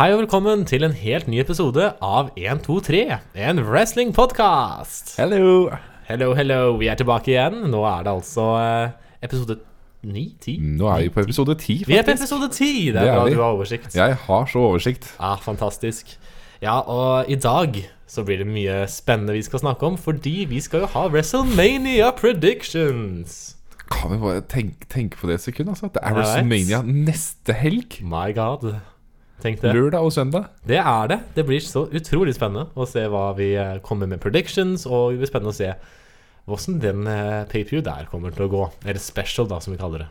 Hei og velkommen til en helt ny episode av 123, en wrestlingpodkast. Hello! Hello, hello, vi er tilbake igjen. Nå er det altså eh, episode 9? 10? Nå er vi på episode 10, Vi er på faktisk. episode 10! Det Mm. Det er er bra vi. du har oversikt. Jeg har så oversikt. Ja, fantastisk. Ja, og i dag så blir det mye spennende vi skal snakke om, fordi vi skal jo ha WrestleMania predictions. Kan vi bare tenke, tenke på det et sekund, altså? Det er Jeg vet. WrestleMania neste helg. My god. Tenk det. Lørdag og søndag. Det er det. Det blir så utrolig spennende å se hva vi eh, kommer med predictions, og det blir spennende å se hvordan den eh, pay-per-view der kommer til å gå. Eller special, da, som vi kaller det.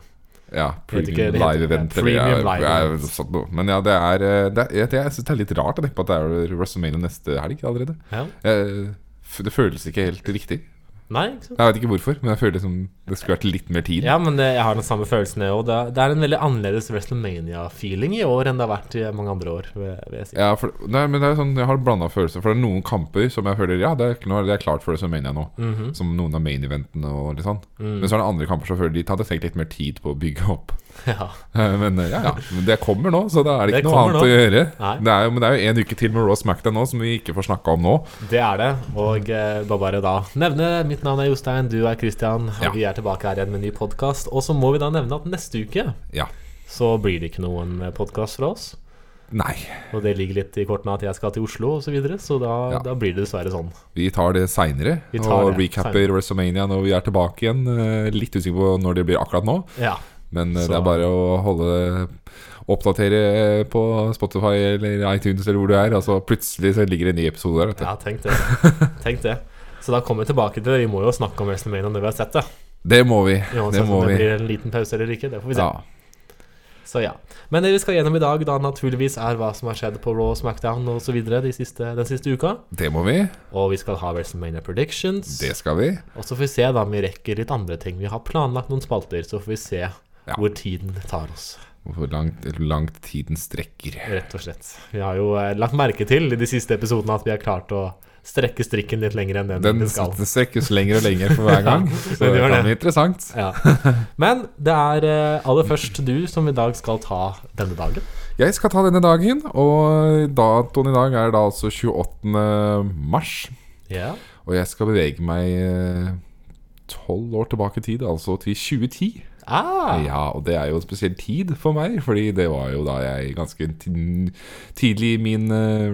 Ja, Vet ikke, det heter- premium live event. eller Premium jeg- live jeg- event. sånn noe. Men ja, det er, eh, det er Jeg, jeg syns det er litt rart å tenke på at det er WrestleMania neste helg allerede. Ja. Eh, f- Det føles ikke helt riktig. Nei, ikke sant? Jeg vet ikke hvorfor, men jeg føler liksom det skulle vært litt mer tid. Ja, men eh, jeg har den samme følelsen, jeg òg. Det, er- det er en veldig annerledes WrestleMania-feeling i år enn det har vært i mange andre år. Vil jeg- vil jeg si. Ja, for, nei, men det er sånn, Jeg har blanda følelser. For det er noen kamper som jeg føler Ja, det er, nå er det klart for WrestleMania nå. Mhm. Som noen av main eventene og litt sånn. Mm. Men så er det andre kamper som føler de hadde tenkt litt mer tid på å bygge opp. ja. Eh, Men eh, ja, ja. Men det kommer nå, så da er det Det ikke noe kommer annet å gjøre. Nei. Det er, jo, men det er jo en uke til med Raw Smackdown nå, som vi ikke får snakka om nå. Det er det. Og eh, da bare da nevne Mitt navn er Jostein, du er Christian. Og Ja. Vi er tilbake her igjen med en ny podkast. Og så må vi da nevne at neste uke Ja. så blir det ikke noen podkast fra oss. Nei. Og det ligger litt i kortene at jeg skal til Oslo osv., så, videre, så da, Ja. da blir det dessverre sånn. Vi tar det seinere Vi tar og det recapper senere. WrestleMania når vi er tilbake igjen. Eh, Litt usikker på når det blir akkurat nå, Ja. men eh, det Så- er bare å holde Oppdatere eh, på Spotify eller iTunes eller hvor du er. Altså Plutselig så ligger det en ny episode der. Vet du. ja, tenk det. Tenk det. Så da kommer vi tilbake til det. Vi må jo snakke om WrestleMania når vi har sett det. Det må vi. Uansett Det må om det vi. blir en liten pause eller ikke. Det får vi se. Ja. Så ja. Men det vi skal gjennom i dag, da naturligvis er hva som har skjedd på Raw, Smackdown osv. De siste, den siste uka. Det må vi. Og vi skal ha WrestleMania predictions. Det skal vi. Og så får vi se da om vi rekker litt andre ting. Vi har planlagt noen spalter, så får vi se hvor tiden tar oss. Hvor langt, langt tiden strekker. Rett og slett. Vi har jo eh, lagt merke til i de siste episodene at vi har klart å strekke strikken litt lenger enn den, Den den skal. den strekkes lenger og lenger for hver gang. Så den det gjør kan det. bli interessant. Ja. Men det er eh, aller først du som i dag skal ta denne dagen. Jeg skal ta denne dagen, og datoen i dag er da altså 28. mars. Ja. Og jeg skal bevege meg eh, tolv år tilbake i tid, altså til 2010. Ah, Ja, og det er jo en spesiell tid for meg, fordi det var jo da jeg ganske ti- tidlig i min eh,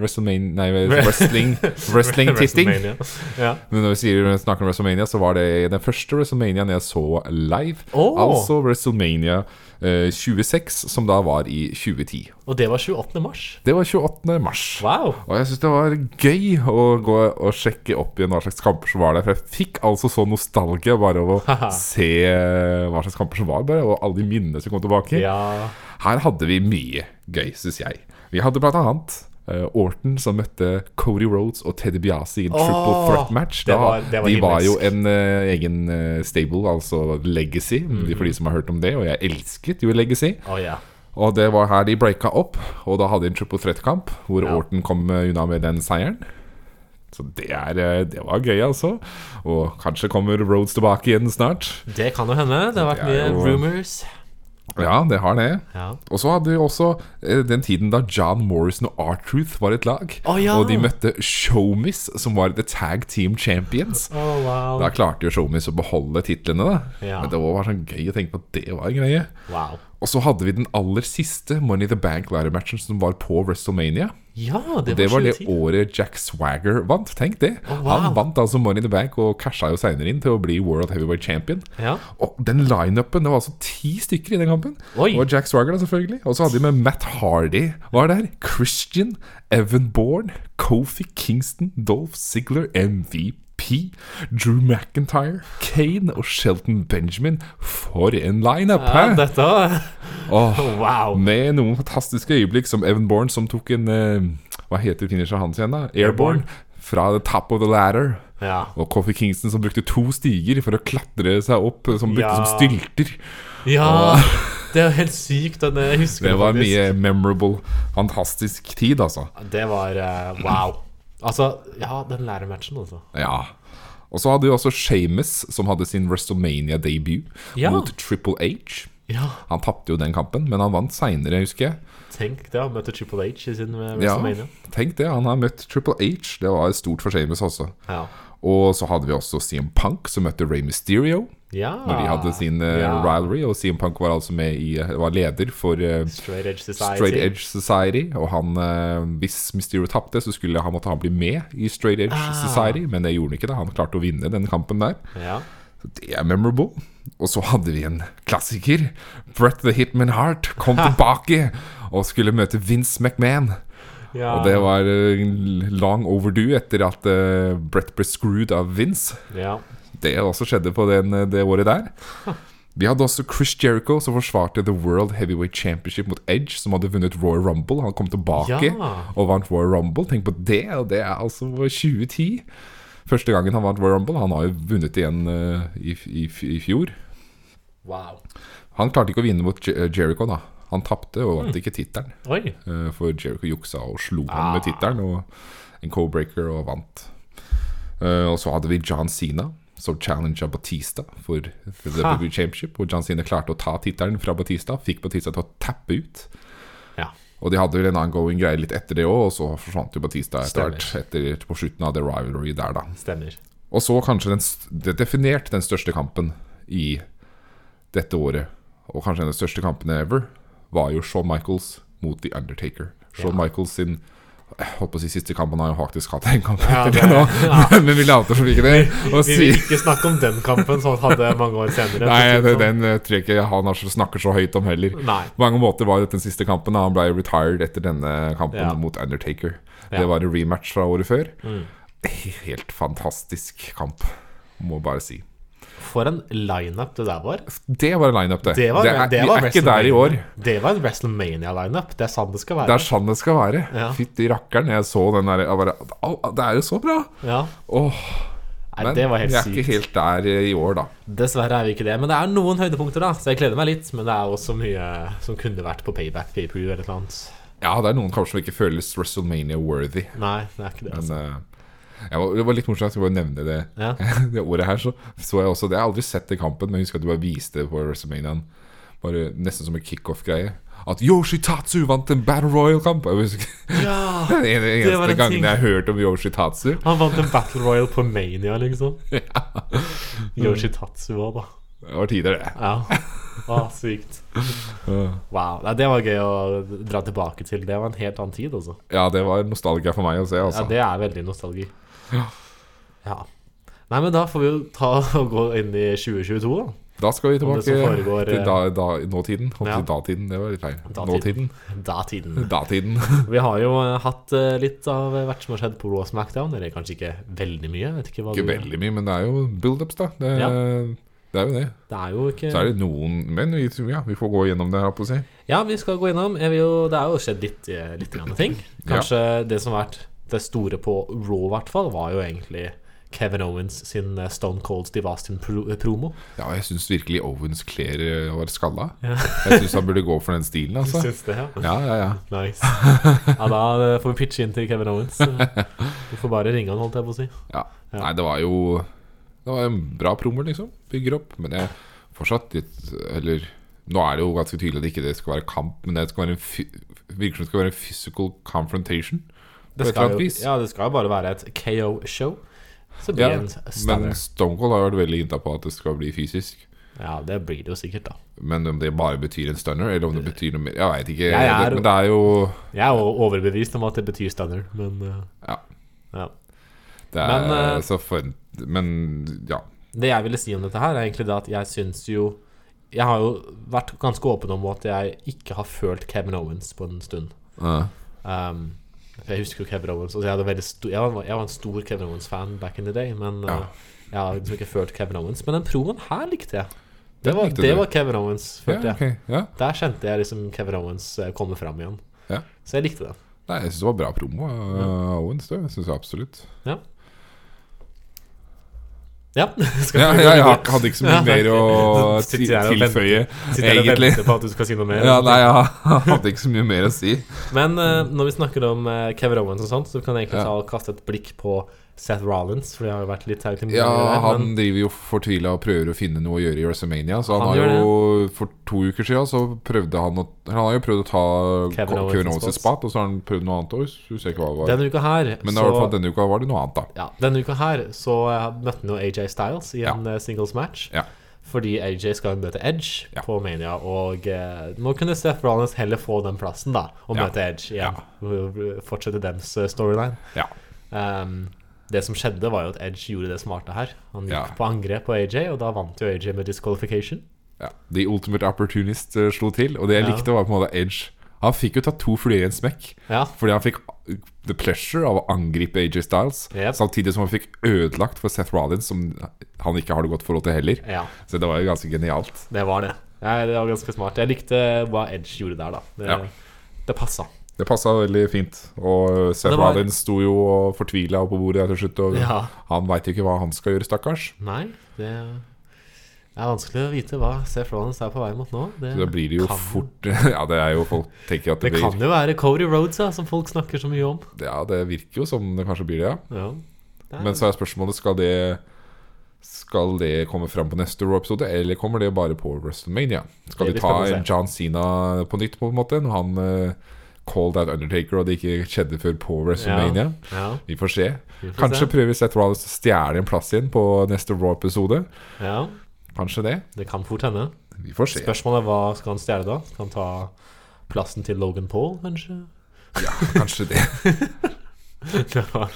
WrestleMania Nei, wrestling- wrestling-titting. WrestleMania. Ja. Men når vi sier, snakker om WrestleMania, så var det den første WrestleManiaen jeg så live. Åh! Altså WrestleMania eh, 26, som da var i 2010. Og det var 28. mars. Det var 28. mars. Wow. Og jeg syns det var gøy å gå og sjekke opp igjen hva slags kamper som var der. For jeg fikk altså så nostalgia bare av å se eh, hva slags kamper som var, bare, og alle de minnene som kom tilbake. Ja. Her hadde vi mye gøy, syns jeg. Vi hadde blant annet eh, Orton som møtte Cody Rhodes og Teddy Biasi i en triple Åh, threat match. det var- det var de var himmelsk. jo en eh, egen eh, stable, altså Legacy, Mm. for de som har hørt om det. Og jeg elsket jo Legacy. Å ja. Og det var her de breaka opp, og da hadde de en triple threat-kamp hvor Ja. Orton kom eh, unna med den seieren. Så det, er, eh, det var gøy, altså. Og kanskje kommer Rhodes tilbake igjen snart. Det kan jo hende. Det har vært Det mye er jo- rumors. Ja, det har det. Ja. Og så hadde vi også eh, den tiden da John Morrison og R-Truth var et lag. Å, ja. Og de møtte Showmiss, som var The Tag Team Champions. Å, wow. Da klarte jo Showmiss å beholde titlene, da. Ja. Men det var sånn gøy å tenke på at det var en greie. wow. Og så hadde vi den aller siste Money in the Bank Ladder-matchen som var på WrestleMania. Ja, det var, Det var det 2010. året Jack Swagger vant. Tenk det! Å, wow. Han vant altså Money in the Bank og casha jo seinere inn til å bli World Heavyweight Champion. Ja. Og den lineupen, det var altså ti stykker i den kampen. Oi. Og Jack Swagger, da, selvfølgelig. Og så hadde de med Matt Hardy var der. Christian, Evan Bourne, Kofi Kingston, Dolph Ziggler, MVP. Drew McIntyre, Kane og Shelton Benjamin. For en lineup! ja hæ? dette var Åh, Wow. med noen fantastiske øyeblikk, som Evan Bourne som tok en eh, Hva heter finishen hans igjen, da? Airborne. Fra the top of the ladder. Ja. Og Coffee Kingston som brukte to stiger for å klatre seg opp, som brukte Ja. som stylter. Ja, det er jo helt sykt. Den, jeg husker Det var faktisk. mye memorable, fantastisk tid, altså. Det var eh, wow. Altså, ja, den lærermatchen, altså. Ja. Og så hadde vi også Shames, som hadde sin WrestleMania-debut Ja. mot Triple H. Ja, Han tapte jo den kampen, men han vant seinere, husker jeg. tenk det. Han møtte Triple H i sin eh, Ja, WrestleMania. tenk det, han har møtt Triple H. Det var stort for Shames også. Ja. Og så hadde vi også CM Punk, som møtte Ray Mysterio ja. når de hadde sin eh, Ah, Ja. rivalry. Og CM Punk var altså med i Var leder for eh, Straight Edge Society. Straight Edge Society. Og han, eh, hvis Mysterio tapte, så skulle han måtte han bli med i Straight Edge Ah. Society, men det gjorde han ikke. da Han klarte å vinne den kampen der. Ja. Så det er memorable. Og så hadde vi en klassiker. Brett the Hitman Hart kom tilbake og skulle møte Vince McMahon. Ja. Og det var eh, long overdue etter at eh, Brett ble screwed av Vince. ja. Det også skjedde på den, eh, det året der. Vi hadde også Chris Jericho, som forsvarte The World Heavyweight Championship mot Edge, som hadde vunnet Royal Rumble. Han kom tilbake Ja. og vant Royal Rumble. Tenk på det, og det er altså 2010. Første gangen han vant Royal Rumble. Han har jo vunnet igjen eh, i, i, i fjor. Wow. Han klarte ikke å vinne mot Je- Jericho, da. Han tapte og vant ikke tittelen. Oi. Eh, For Jericho juksa og slo Ah. han med tittelen og en co-breaker og vant. Eh, og så hadde vi John Sina som challenga Batista for The Ha. WWE Championship. Og John Sina klarte å ta tittelen fra Batista, fikk Batista til å tappe ut. Ja. Og de hadde vel en ongoing greie litt etter det òg, og så forsvant jo Batista etter Stemmer. hvert. etter- På slutten av The Rivalry der, da. Stemmer. Og så kanskje den, st- det definerte den største kampen i dette året. Og kanskje en av de største kampene ever var jo Shawn Michaels mot The Undertaker. Shawn Michaels sin jeg holdt på å si siste kamp, han har jo faktisk hatt en kamp Ja, etter det- det nå. Men vi later som ikke det. Og Vi vil sier ikke snakke om den kampen som han hadde mange år senere. for Nei, å si det- det sånn. den eh, tror jeg ikke han har så- snakker så høyt om heller. Nei. På mange måter var dette den siste kampen. da Han ble retired etter denne kampen Ja. mot Undertaker. Ja. Mm. Det var en rematch fra året før. Helt fantastisk kamp, må bare si. For en lineup det der var. Det var en lineup, det. Det var, det er, det vi var er ikke der i år. WrestleMania. Det var en WrestleMania-lineup. Det er sånn det skal Det være. er sånn det skal være. Ja. Fytti rakkeren. Jeg så den der jeg bare, Au, Det er jo så bra! Ja. Åh, Nei, men det var helt vi er sykt. ikke helt der i år, da. Dessverre er vi ikke det. Men det er noen høydepunkter, da. Så jeg gleder meg litt. Men det er også mye som kunne vært på payback paper eller noe annet. Ja, det er noen kanskje som ikke føles WrestleMania-worthy. Nei, det er ikke det. Men Altså. eh, jeg var, det var litt morsomt, jeg skal bare nevne det. Ja. det året her så så jeg også det. Jeg har aldri sett det i kampen, men jeg husker at du bare viste det på WrestleManiaen. Bare Nesten som en kickoff-greie. At Yoshitatsu vant en Battle Royal-kamp! Jeg husker- ja! Det er den var en eneste ting. gangen jeg har hørt om Yoshitatsu. Han vant en Battle Royal på Mania, liksom. Yoshitatsu òg, da. Det var tider, det. Ja. Å, sykt. Wow. Nei, det var gøy å dra tilbake til. Det var en helt annen tid, altså. Ja, det var nostalgia for meg å se, Ja, altså. det er veldig nostalgi. Ja. Nei, men da får vi jo ta og gå inn i 2022, da. Da skal vi det tilbake som foregår, til eh, da, da, nåtiden. Holdt ja. til datiden, det var litt feil. Datiden. Da tiden. Nåtiden. Datiden. Vi har jo eh, hatt eh, litt av hvert som har skjedd på Raw og Smackdown. Eller kanskje ikke veldig mye. Jeg Vet ikke hva Ikke du veldig mye, men det er jo build-ups, da. Det, Ja. det er jo det. Det er jo ikke Så er det noen Men vi, ja, vi får gå gjennom det her, på å si. Ja, vi skal gå innom. Jeg vil jo, det er jo skjedd litt, eh, litt grann ting. Kanskje det som har vært det store på Raw, i hvert fall, var jo egentlig Kevin Owens sin eh, Stone Cold Steve eh, Austin-promo. Ja, jeg syns virkelig Owens kler eh, å være skalla. Ja. Jeg syns han burde gå for den stilen, altså. Syns det, ja. Ja, ja, ja. Nice. Ja, da eh, får vi pitche inn til Kevin Owens. Du får bare ringe han, holdt jeg på å si. ja. Ja. Nei, det var jo Det var en bra promo, liksom. Bygger opp. Men jeg fortsatt litt Eller nå er det jo ganske tydelig at ikke det skal være kamp, men det skal være en fy- virker som det skal være en physical confrontation. På et eller annet vis. ja, det skal jo bare være et KO-show. Så blir Ja, det en men stunner. Stone Cold har vært veldig innta på at det skal bli fysisk. Ja, det blir det jo sikkert, da. Men om det bare betyr en stunner, eller om det betyr noe mer Jeg veit ikke. Jeg er- det, men det er jo Jeg er jo overbevist om at det betyr stunner, men eh, Ja. ja. Det er, Men, eh, så for, men ja. Det jeg ville si om dette her, er egentlig det at jeg syns jo Jeg har jo vært ganske åpen om at jeg ikke har følt Kevin Owens på en stund. Ja. Um, for jeg husker jo Kevin Owens. Altså jeg, hadde veldig sto- jeg, var, jeg var en stor Kevin Owens-fan back in the day, men Ja. uh, jeg har liksom ikke følt Kevin Owens. Men den proen her likte jeg. Den Det var, likte det du. var Kevin Owens, følte ja, jeg. ok, ja. Der kjente jeg liksom Kevin Owens eh, komme fram igjen. Ja. Så jeg likte den. Nei, jeg syns det var bra promo av Owens. Det syns jeg absolutt. Ja. Ja, skal Ja, vi gå ja, jeg videre? har- hadde ikke så mye Ja, mer å ok. Så ti- sitter jeg og venter- tilføye, Sitter jeg og egentlig. venter på at du skal si noe mer. Ja, nei, jeg hadde ikke så mye mer å si. Men eh, når vi snakker om eh, Kevin Owens og sånt, så kan jeg egentlig Ja. ta og kaste et blikk på Seth Rollins, for det har jo vært litt tag team. Ja, der, han men driver jo fortvila og prøver å finne noe å gjøre i WrestleMania. Så han, Han har gjør jo For to uker siden så prøvde han å Han har jo prøvd å ta Kevin Ko- Owens' Kevin Owens' spots. spot, og så har han prøvd noe annet òg. Husker jeg ikke hva det var. Denne uka her Men i så hvert fall denne uka var det noe annet, da. ja, Denne uka her så eh, møtte han jo AJ Styles i Ja. en eh, singles match. Ja. Fordi AJ skal jo møte Edge Ja. på Mania, og eh, nå kunne Seth Rollins heller få den plassen, da, og Ja. møte Edge Ja. igjen. Fortsette dems eh, storyline. Ja. Ehm, det som skjedde, var jo at Edge gjorde det smarte her. Han gikk Ja. på angrep på AJ, og da vant jo AJ med disqualification. Ja. The Ultimate Opportunist eh, slo til, og det Ja. jeg likte, var på en måte Edge. Han fikk jo tatt to fluer i en smekk, Ja, fordi han fikk the pleasure av å angripe AJ Styles, Yep. samtidig som han fikk ødelagt for Seth Rollins, som han ikke har det godt forhold til heller. ja Så det var jo ganske genialt. det var det. Ja, det var ganske smart. Jeg likte hva Edge gjorde der, da. Det, Ja. det passa. Det passa veldig fint. Og Seth Det var- Rollins sto jo og fortvila på bordet der til slutt, og Ja. han veit jo ikke hva han skal gjøre, stakkars. Nei, det er vanskelig å vite hva Seth Rollins er på vei mot nå. Det, Så da blir det jo kan, fort Ja, det er jo folk tenker at det det, blir kan jo være Cody Rhodes, ja, som folk snakker så mye om. Ja, det virker jo som det kanskje blir det, ja. Ja. Det er- Men så er spørsmålet skal det Skal det komme fram på neste Raw-episode, eller kommer det bare på WrestleMania? Skal Det de blir spennende ta å se. John Cena på nytt, på en måte? Når han eh, called out Undertaker, og det ikke skjedde før på WrestleMania? ja, Vi får se. vi får Kanskje se. prøver Seth Rollins å stjele en plass igjen på neste Raw-episode. Ja, Kanskje det. det kan fort hende. Vi får se. Spørsmålet er hva skal han stjele da? Skal han ta plassen til Logan Paul, kanskje? Kanskje det. Det var,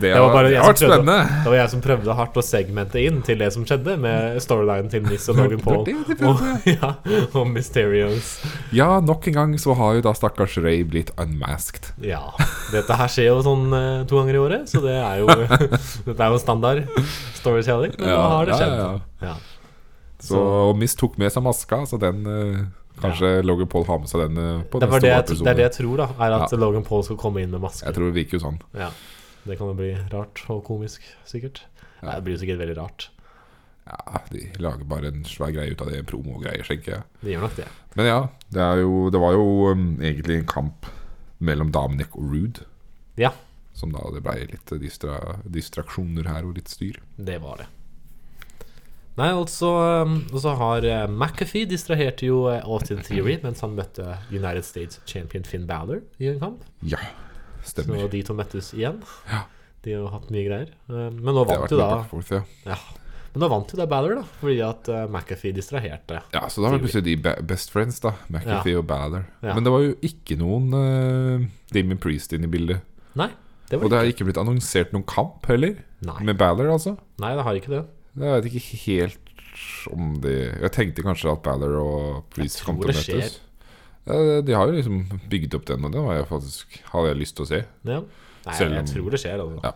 Det Det var har bare det jeg som har vært prøvde å- spennende. det var jeg som prøvde hardt å segmente inn til det som skjedde med storylinen til Miss og Logan Det var Paul. det de Og, prøvde. ja, og Mysterios. Ja, nok en gang så har jo da stakkars Ray blitt unmasked. Ja. Dette her skjer jo sånn eh, to ganger i året, så det er jo Dette er jo standard storytelling, men nå Ja, har det ja, skjedd. ja, ja. Ja. Så og Miss tok med seg maska, så den eh, Kanskje Logan Paul har med seg den eh, på Det, var neste det, jeg, episode. det er det jeg tror, da. Er at Logan Paul skal komme inn med maske. Jeg tror det virker jo sånn. Ja. Det kan jo bli rart og komisk, sikkert. Nei, det blir jo sikkert veldig rart. Ja, De lager bare en svær greie ut av det, en promogreie, skjenker jeg. Det gjør nok det. Men ja, det, er jo, det var jo um, egentlig en kamp mellom Dominic og Rude. Ja, Som da det ble litt distra, distraksjoner her og litt styr. Det var det. Nei, altså um, Og så har eh, McAfee distraherte jo eh, Austin Theory mens han møtte United States champion Finn Balor i en kamp. Ja, Så stemmer. de to møttes igjen. Ja. De har hatt mye greier. Eh, Men nå Det har vant vært jo mye da back and forth, ja. ja. Men nå vant jo da Balor, da, fordi at eh, McAfee distraherte. ja, så da var det plutselig de be- best friends, da. McAfee og Balor. Ja. Men det var jo ikke noen uh, Damien Priest inne i bildet. Nei, det Og var det det har ikke blitt annonsert noen kamp heller, Nei. med Balor, altså. Nei, det har ikke det. Jeg vet ikke helt om de Jeg tenkte kanskje at Balor og Priest Jeg kom tror til å det skjer. møtes. Ja, de har jo liksom bygd opp den, og det var jeg faktisk, hadde jeg lyst til å se. Ja. Nei, Selv om- jeg tror det skjer, altså. Ja.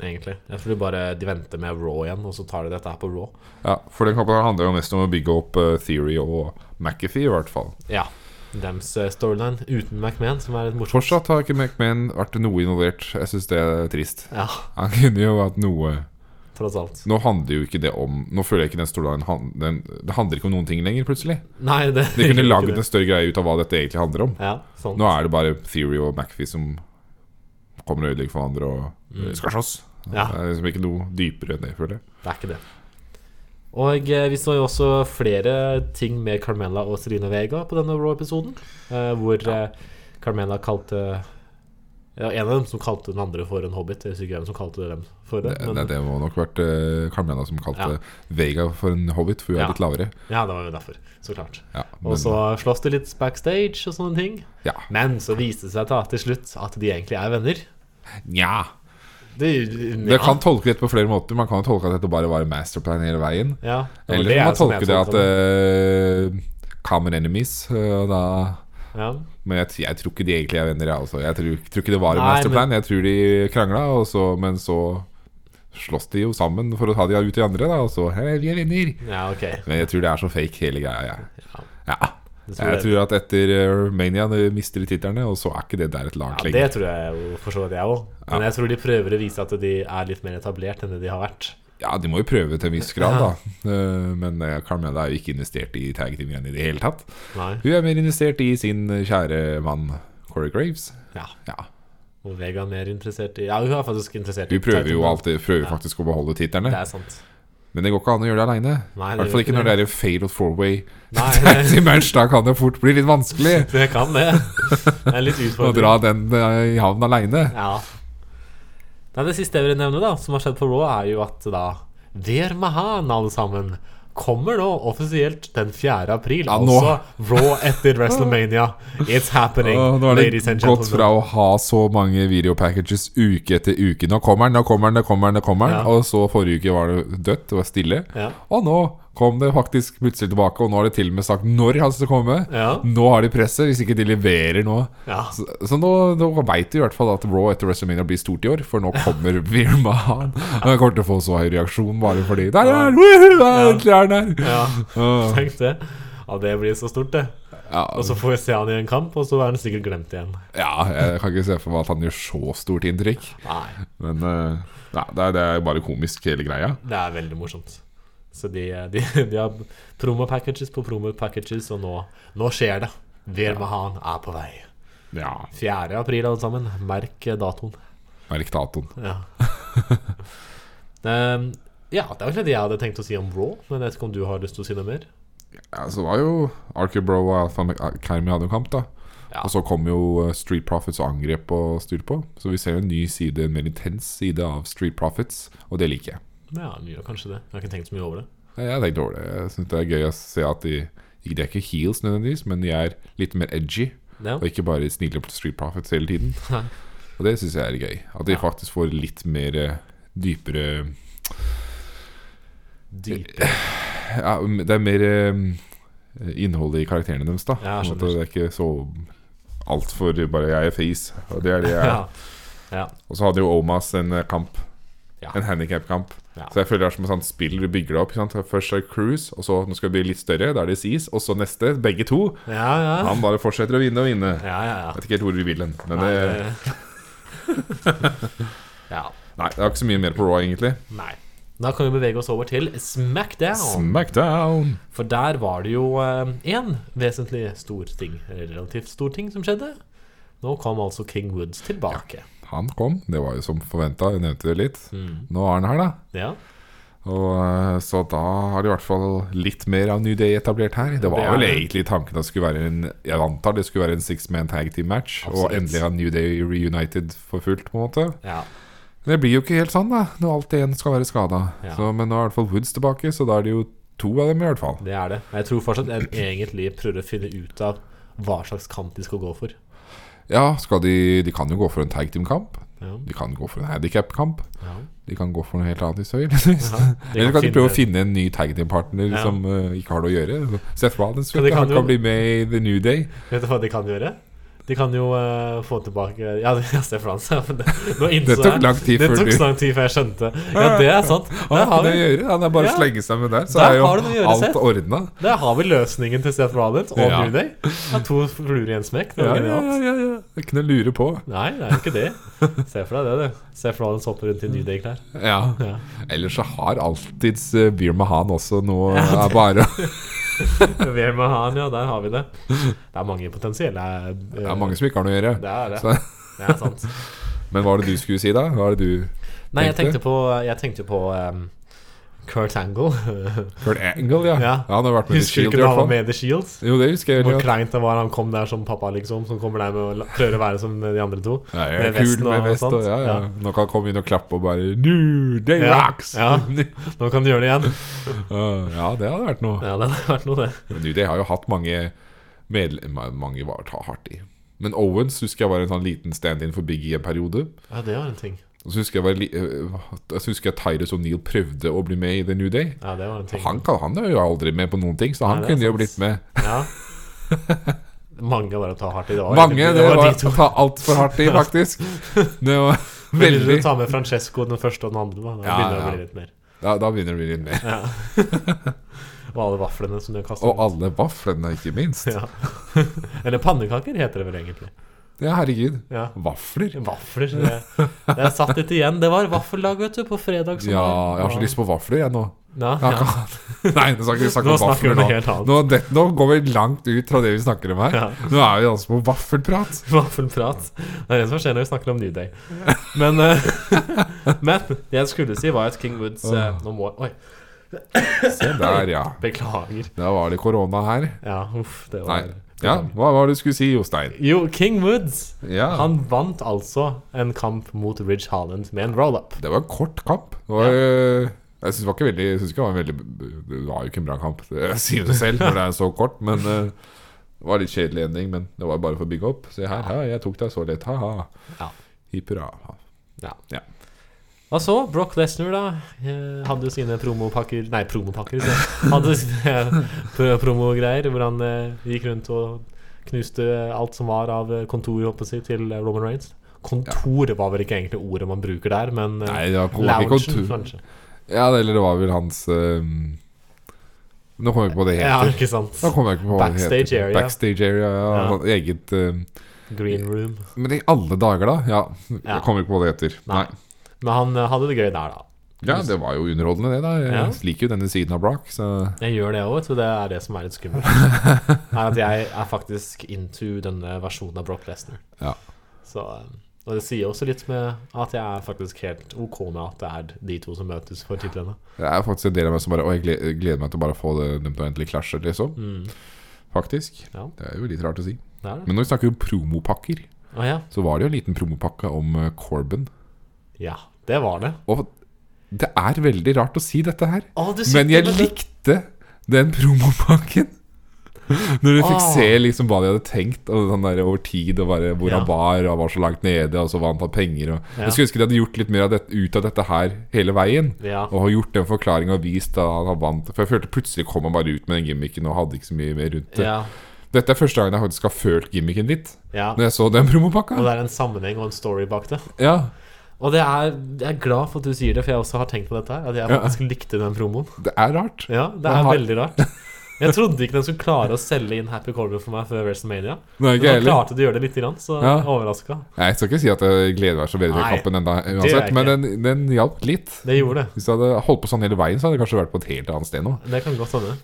Egentlig. Jeg tror bare de venter med Raw igjen, og så tar de dette her på Raw. Ja, For den kampen her handler jo mest om å bygge opp eh, Theory og McAfee, i hvert fall. Ja. Dems eh, storyline uten McMahon, som er litt morsomt. Fortsatt har ikke McMahon vært noe involvert. Jeg syns det er trist. Ja, Han kunne jo hatt noe tross alt. Nå handler jo ikke det om Nå føler jeg ikke den storylinen han- den- Det handler ikke om noen ting lenger, plutselig. Nei, det De kunne lagd en det. større greie ut av hva dette egentlig handler om. Ja, sånn. Nå er det bare Theory og McAfee som kommer og ødelegger for andre og eh, skal slåss. Mm. Ja. Det er liksom ikke noe dypere enn det, føler jeg. Det er ikke det. Og eh, vi så jo også flere ting med Carmella og Serena Vega på denne Raw-episoden. Eh, hvor eh, Carmella kalte ja, En av dem som kalte den andre for en hobbit. Jeg husker ikke hvem som kalte dem for det. Det, Men, det, det må nok vært uh, Carmena som Ja. kalte Vega for en hobbit, for hun er Ja. litt lavere. Ja, det var jo derfor. Så klart. Ja, Og så eh, slåss de litt backstage og sånne ting. ja. Men så viste det seg da til slutt at de egentlig er venner. Nja. Det, Det kan tolke dette på flere måter. Man kan jo tolke at dette bare var en masterplan hele veien. ja, det var Eller det så kan jeg- man som jeg tolke det at tolket eh, Common enemies eh, da det. ja. men jeg, t- jeg tror ikke de egentlig er venner, jeg også. Jeg tror, tror ikke det var en Nei, masterplan. Jeg tror de krangla, og så- men så slåss de jo sammen for å ta de ut de andre, da. Og så Hei, vi er venner. ja, ok. Men jeg tror det er så fake, hele greia. Jeg. Ja. Ja. Det tror jeg- Jeg tror at etter eh, Mania de mister de titlene, og så er ikke det der et lag Ja, lenger. det tror jeg jo for så vidt jeg òg. Men jeg tror de prøver å vise at de er litt mer etablert enn det de har vært. Ja, de må jo prøve til en viss grad, da. Eh, Men eh, Carmella er jo ikke investert i tag team-greiene i det hele tatt. Nei. Hun er mer investert i sin eh, kjære mann Corey Graves. Ja. Ja. Og Vega er mer interessert i Ja, hun er faktisk interessert i Du prøver jo Titan. alltid prøver faktisk å beholde Det titlene, er sant. men det går ikke an å gjøre det aleine. Nei, I det hvert fall gjør ikke når det er en fatal four-way Nei, fancy match. Da kan det fort bli litt vanskelig det kan det. Det er litt å utfordrende. dra den eh, i havn aleine. Ja. Nei, det siste jeg vil nevne, da, som har skjedd på Raw, er jo at da Ver Mahan, alle sammen, kommer nå offisielt den 4. april. Ja, nå. altså Raw etter WrestleMania. It's happening, Nå har ladies det and gått fra gentlemen. å ha så mange videopackages uke etter uke. Nå kommer den, nå kommer den, nå kommer den. nå kommer den Ja. Og så forrige uke var det dødt, det var stille. Ja. Og nå kom det faktisk plutselig tilbake, og nå har de til og med sagt når han skal komme. Ja. Nå har de presset, hvis ikke de leverer nå. Ja. Så, så nå, nå veit de i hvert fall at Raw etter WrestleMania blir stort i år, for nå kommer Virman. Og jeg kommer til å få så høy reaksjon bare fordi Der er han! Woohoo! Ja, Endelig er han her! ja. Åh. Tenk det. Ja, det blir så stort, det. Ja, Og så får vi se han i en kamp, og så er han sikkert glemt igjen. ja, jeg kan ikke se for meg at han gjør så stort inntrykk. Nei, Men eh, nei, det, er, det er bare komisk, hele greia. det er veldig morsomt. Så de, de, de har promo-packages på promo-packages, og nå, nå skjer det. Ver Mahan er på vei. Ja, 4. april, alle sammen. Merk eh, datoen. merk datoen. Ja. Ehm, ja, det var egentlig det jeg hadde tenkt å si om Raw, men jeg vet ikke om du har lyst til å si noe mer? Ja, så var jo Archer Bro og Alpha Academy hadde en kamp, da. Ja. Og så kom jo eh, Street Profits og angrep og styr på. Så vi ser jo en ny side, en mer intens side av Street Profits, og det liker jeg. Ja, vi gjør kanskje det. Jeg har ikke tenkt så mye over det. Jeg er litt dårlig. Jeg syns det er gøy å se at de De er ikke heels nødvendigvis, men de er litt mer edgy. Ja. Og ikke bare snille på Street Profits hele tiden. Nei. Og det syns jeg er gøy. At de Ja. faktisk får litt mer eh, dypere Dyp. ja, m- Det er mer eh, innhold i karakterene deres, da. Ja, jeg Sånn at skjønner. det er ikke så altfor bare 'jeg er face'. Og det er det jeg er. Ja. Ja. Og så hadde jo Omas en eh, kamp. Ja. En handikapkamp. Ja. Så jeg føler det er som et sånt spill du bygger det opp. Ikke sant? Først er det Cruise, og så nå skal det bli litt større. Da er det Seas, og så neste. Begge to. Ja, ja. Han bare fortsetter å vinne og vinne. Ah. ja, ja, ja. Jeg vet ikke helt hvor du vil hen. Men eh, Nei, det, det- ja. nei, det er ikke så mye mer på Raw, egentlig. Nei. Da kan vi bevege oss over til Smackdown. Smackdown! For der var det jo én vesentlig stor ting, eller relativt stor ting, som skjedde. Nå kom altså King Woods tilbake. Han kom. Det var jo som forventa. Jeg nevnte det litt. Mm. Nå er han her, da. Ja. Og eh, Så da har de i hvert fall litt mer av New Day etablert her. Det var Det er vel det. egentlig tanken at det skulle være en Jeg antar det skulle være en six man tag team match. Absolutt. Og endelig har New Day reunited for fullt, på en måte. ja. Men det blir jo ikke helt sånn, da, når alt igjen skal være skada. Ja. Men nå er i hvert fall Woods tilbake, så da er det jo to av dem, i hvert fall. Det er det. Jeg tror fortsatt jeg egentlig prøver å finne ut av hva slags kamp de skal gå for. Ja, skal de De kan jo gå for en tag team-kamp. Ja. De kan gå for en handikap-kamp. Ja. De kan gå for noe helt annet hvis de vil. Eller kan de prøve å finne en ny tag team-partner Ja. som eh, ikke har noe å gjøre. Seth Rollins Ja, de kan han jo- kan bli med i The New Day. Vet du hva de kan gjøre? De kan jo eh, få tilbake Ja, jeg ser for meg det. Nå Det innså tok jeg lang tid det før tok du så lang tid før jeg skjønte. Ja, det er sant. Der Han har har ikke noe å vi, gjøre. Han er bare å Ja. slenge sammen der, så Der er jo har du noe å gjøre, Seth. alt ordna. der har vi løsningen til Seth Rollins og Ja. New Day. Ja, to fluer i en smekk. Det Ja, var ja, genialt. ja, ja. Det er Ikke noe å lure på. Nei, det er jo ikke det. Se for deg det, du. Seth Rollins hopper rundt i New Day-klær. Ja. Ja. Ellers så har alltids uh, Bir Mahan også noe er bare Ver Mahan, ja, der har vi det. Det er mange potensielle eh, Det er mange som ikke har noe å gjøre. Det er det. Så- Det er sant. Men hva var det du skulle si, da? Hva er det du Nei, jeg Tenkte? tenkte på, jeg tenkte på ehm, Kurt Angle. Kurt Angle, ja. Ja. Han har vært med i The Husker du Shield, ikke da i hvert han var fall. med i The Shields? Jo, det husker jeg. Hvor Ja. kleint det var han kom der som pappa, liksom. Som kommer der med å la- prøver å være som de andre to. Ja, ja, med kul vesten og med vest sånt. og ja, ja. Ja. Nå kan han komme inn og klappe og bare New Day Ja, rocks! ja. Nå kan du gjøre det igjen. Uh, ja, det hadde vært noe. Ja, det hadde vært noe, det. Men New Day har jo hatt mange medlemmer Mange var ta hardt i. Men Owens husker jeg var en sånn liten stand-in for Big E en periode. Ja, det var en ting. Og så husker jeg, var, li- øh, så husker jeg Tyrus O'Neill prøvde å bli med i The New Day. Ja, det var en ting. Han, kan, han er jo aldri med på noen ting, så han Nei, det er kunne jo sant. blitt med. Ja. Mange var å ta hardt i. Det var Mange! egentlig- Det var de to. å ta altfor hardt i, faktisk. Det var Veldig. Vil veldig du ta med Francesco den første og den andre? Da, da Ja, begynner det ja. å bli litt mer. da, da begynner det å bli litt mer. Ja. og alle vaflene som de har kastet. Og alle vaflene, ikke minst. Ja. Eller pannekaker heter det vel egentlig. Ja, herregud. Ja. Vafler. Vafler. Det, det er satt litt igjen. Det var vaffeldag, vet du, på fredag. som Ja, var. jeg har så lyst på vafler, jeg nå. Ja, Jeg ja. kan- Nei, nå snakker vi snakker Nå om snakker vi vafler om nå. noe helt annet. Nå, det, nå går vi langt ut fra det vi snakker om her. Ja. Nå er vi altså på vaffelprat. Vaffelprat. Det er det som skjer når vi snakker om New Day. Men, eh, men det jeg skulle si, var at King Woods eh, Nå må Oi, Se der, ja. beklager. Da var det korona her. Ja, uff, det var Nei. Ja, hva var det du skulle si, Jostein? Jo, King Woods Ja. Han vant altså en kamp mot Ridge Haaland med en roll-up. Det var en kort kamp. Det var, øh, Jeg syns ikke veldig, jeg synes ikke det var en veldig Det var jo ikke en bra kamp. Det jeg sier det selv når det er så kort, men øh, det var litt kjedelig ending. Men det var bare for å bygge opp. Se her, ja, jeg tok deg så lett. Ha-ha. Ja. Hipp hurra. Ja. Ja. Og så, Brock Lesnar, da. eh, Hadde jo sine promopakker Nei, promopakker. så Hadde sine pro- promogreier hvor han eh, gikk rundt og knuste alt som var av eh, kontor håper jeg, å si, til eh, Roman Reigns. Kontor var vel ikke egentlig ordet man bruker der, men eh, Nei, det var ikke- ikke loungen, kontur. kanskje. Ja, eller det var vel hans øhm, Nå kommer jeg ikke på det Ja, helt. ikke sant. Da kommer jeg ikke på hva det heter. Backstage area. Backstage area, ja. Ja. sånn Eget øhm, Green room. Men i alle dager, da? Ja. Ja. Jeg kommer ikke på hva det heter. Nei. Nei. Men han eh, hadde det gøy der, da. Ja, det var jo underholdende, det. da Jeg Ja. liker jo denne siden av Brock, så Jeg gjør det òg, vet du. Det er det som er litt skummelt. er at jeg er faktisk into denne versjonen av Brock Lesnar. Ja. Så, eh, og det sier også litt med at jeg er faktisk helt OK med at det er de to som møtes for titlene. Det er faktisk en del av meg som bare Å, jeg gleder, gleder meg til å bare få det, dem til å endelig klasje, liksom. Mm. Faktisk. Ja. Det er jo litt rart å si. Det er det. Men når vi snakker om promopakker, Å ja. så var det jo en liten promopakke om eh, Corbin. ja. Det var det. Og det er veldig rart å si dette her, Å, du men sitter jeg med den- likte den promopakken. Når du fikk Ah. se liksom hva de hadde tenkt og sånn der over tid, og bare hvor Ja. han var, og han var så langt nede, og så vant han penger og Ja. Jeg skulle ønske de hadde gjort litt mer av dette, ut av dette her hele veien. Ja. Og har gjort den forklaringa og vist at han har vant. For jeg følte plutselig kom han bare ut med den gimmicken og hadde ikke så mye mer rundt det. ja. Dette er første gangen jeg faktisk har følt gimmicken litt. ja. Når jeg så den Og promopakka. det er en sammenheng og en story bak det. Ja, Og det er, jeg er glad for at du sier det, for jeg også har tenkt på dette her. At jeg Ja. faktisk likte den promoen. det er rart. Ja, det Den er har- veldig rart. Jeg trodde ikke den skulle klare å selge inn Happy Corbin for meg før WrestleMania. Nå er Men ikke jeg han heller. klarte de å gjøre det litt, grann, så Ja. jeg er overraska. Nei, Jeg skal ikke si at jeg gleder meg så veldig til Nei, kampen enda gjør jeg uansett, men den, den hjalp litt. Det gjorde det. Hvis jeg hadde holdt på sånn hele veien, så hadde jeg kanskje vært på et helt annet sted nå. Det kan godt hende.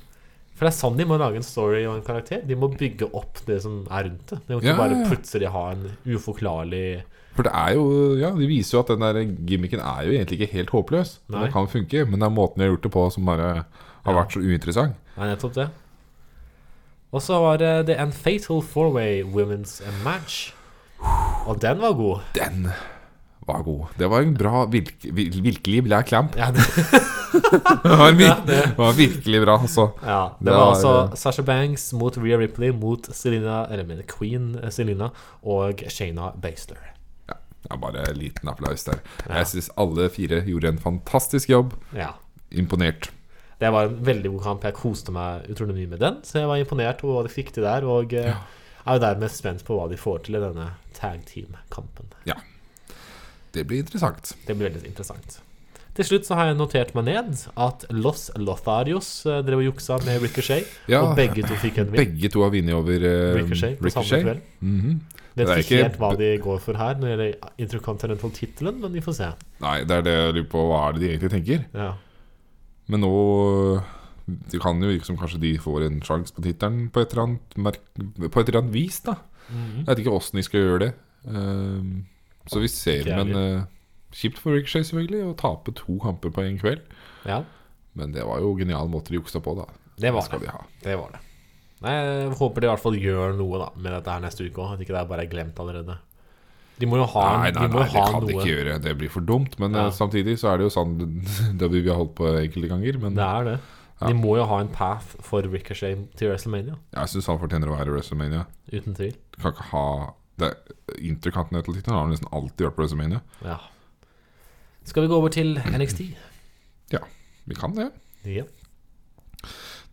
For det er sånn de må lage en story og en karakter. De må bygge opp det som er rundt det. De må ikke Ja, bare ja, ja. plutselig ha en uforklarlig For det er jo Ja, de viser jo at den der gimmicken er jo egentlig ikke helt håpløs. Nei. Den kan funke, men det er måten de har gjort det på som bare har vært så uinteressant. Nei, nettopp det. Og så var det det en Fatal Four-Way Women's Match. Og den var god. Den var god. Det var en bra, virk, vir- virkelig bra clamp. Ja, det, Det var, vir, det var virkelig bra, altså. ja, det Det var var- altså Sasha Banks mot Rhea Ripley mot Selena, eller jeg mener Queen eh, Selena, og Shayna Baszler. Ja, bare en liten applaus der. Jeg syns alle fire gjorde en fantastisk jobb. Ja. Imponert. Det var en veldig god kamp. Jeg koste meg utrolig mye med den. Så jeg var imponert over hva de fikk til der, og eh, er jo dermed spent på hva de får til i denne tag team-kampen. Ja. Det blir interessant. Det blir veldig interessant. Til slutt så har jeg notert meg ned at Los Lotharios eh, drev og juksa med Ricochet, Ja, og begge to fikk en win. Begge to har vunnet over eh, Ricochet på samme Ricochet. kveld. Mhm. Vet Det er ikke ikke- helt hva de går for her når det gjelder Intercontinental-tittelen, men vi får se. Nei, det er det jeg lurer på. Hva er det de egentlig tenker? Ja. Men nå Det kan jo virke som kanskje de får en sjanse på tittelen på, et eller annet merk- på et eller annet vis, da. Jeg vet ikke åssen de skal gjøre det. Ehm, så vi ser, Ikke men eh, Kjipt for Ricochet, selvfølgelig, å tape to kamper på én kveld. ja. Men det var jo genial måte de juksa på, da. Det var skal det. de ha. Det var det. Nei, jeg håper de i hvert fall gjør noe da med dette her neste uke òg. At ikke det er bare glemt allerede. De må jo ha, Nei, nei, de må nei, jo det ha kan de noe. ikke gjøre. Det blir for dumt. Men Ja. eh, samtidig så er det jo sånn Det vi har holdt på enkelte ganger. Men Det er det. De må jo ha en path for Ricochet til WrestleMania. jeg syns han fortjener å være i WrestleMania. Uten tvil. Du kan ikke ha det Intercontinental-tittelen har han nesten alltid vært på WrestleMania. Ja. Skal vi gå over til NXT? Ja, vi kan det. Ja.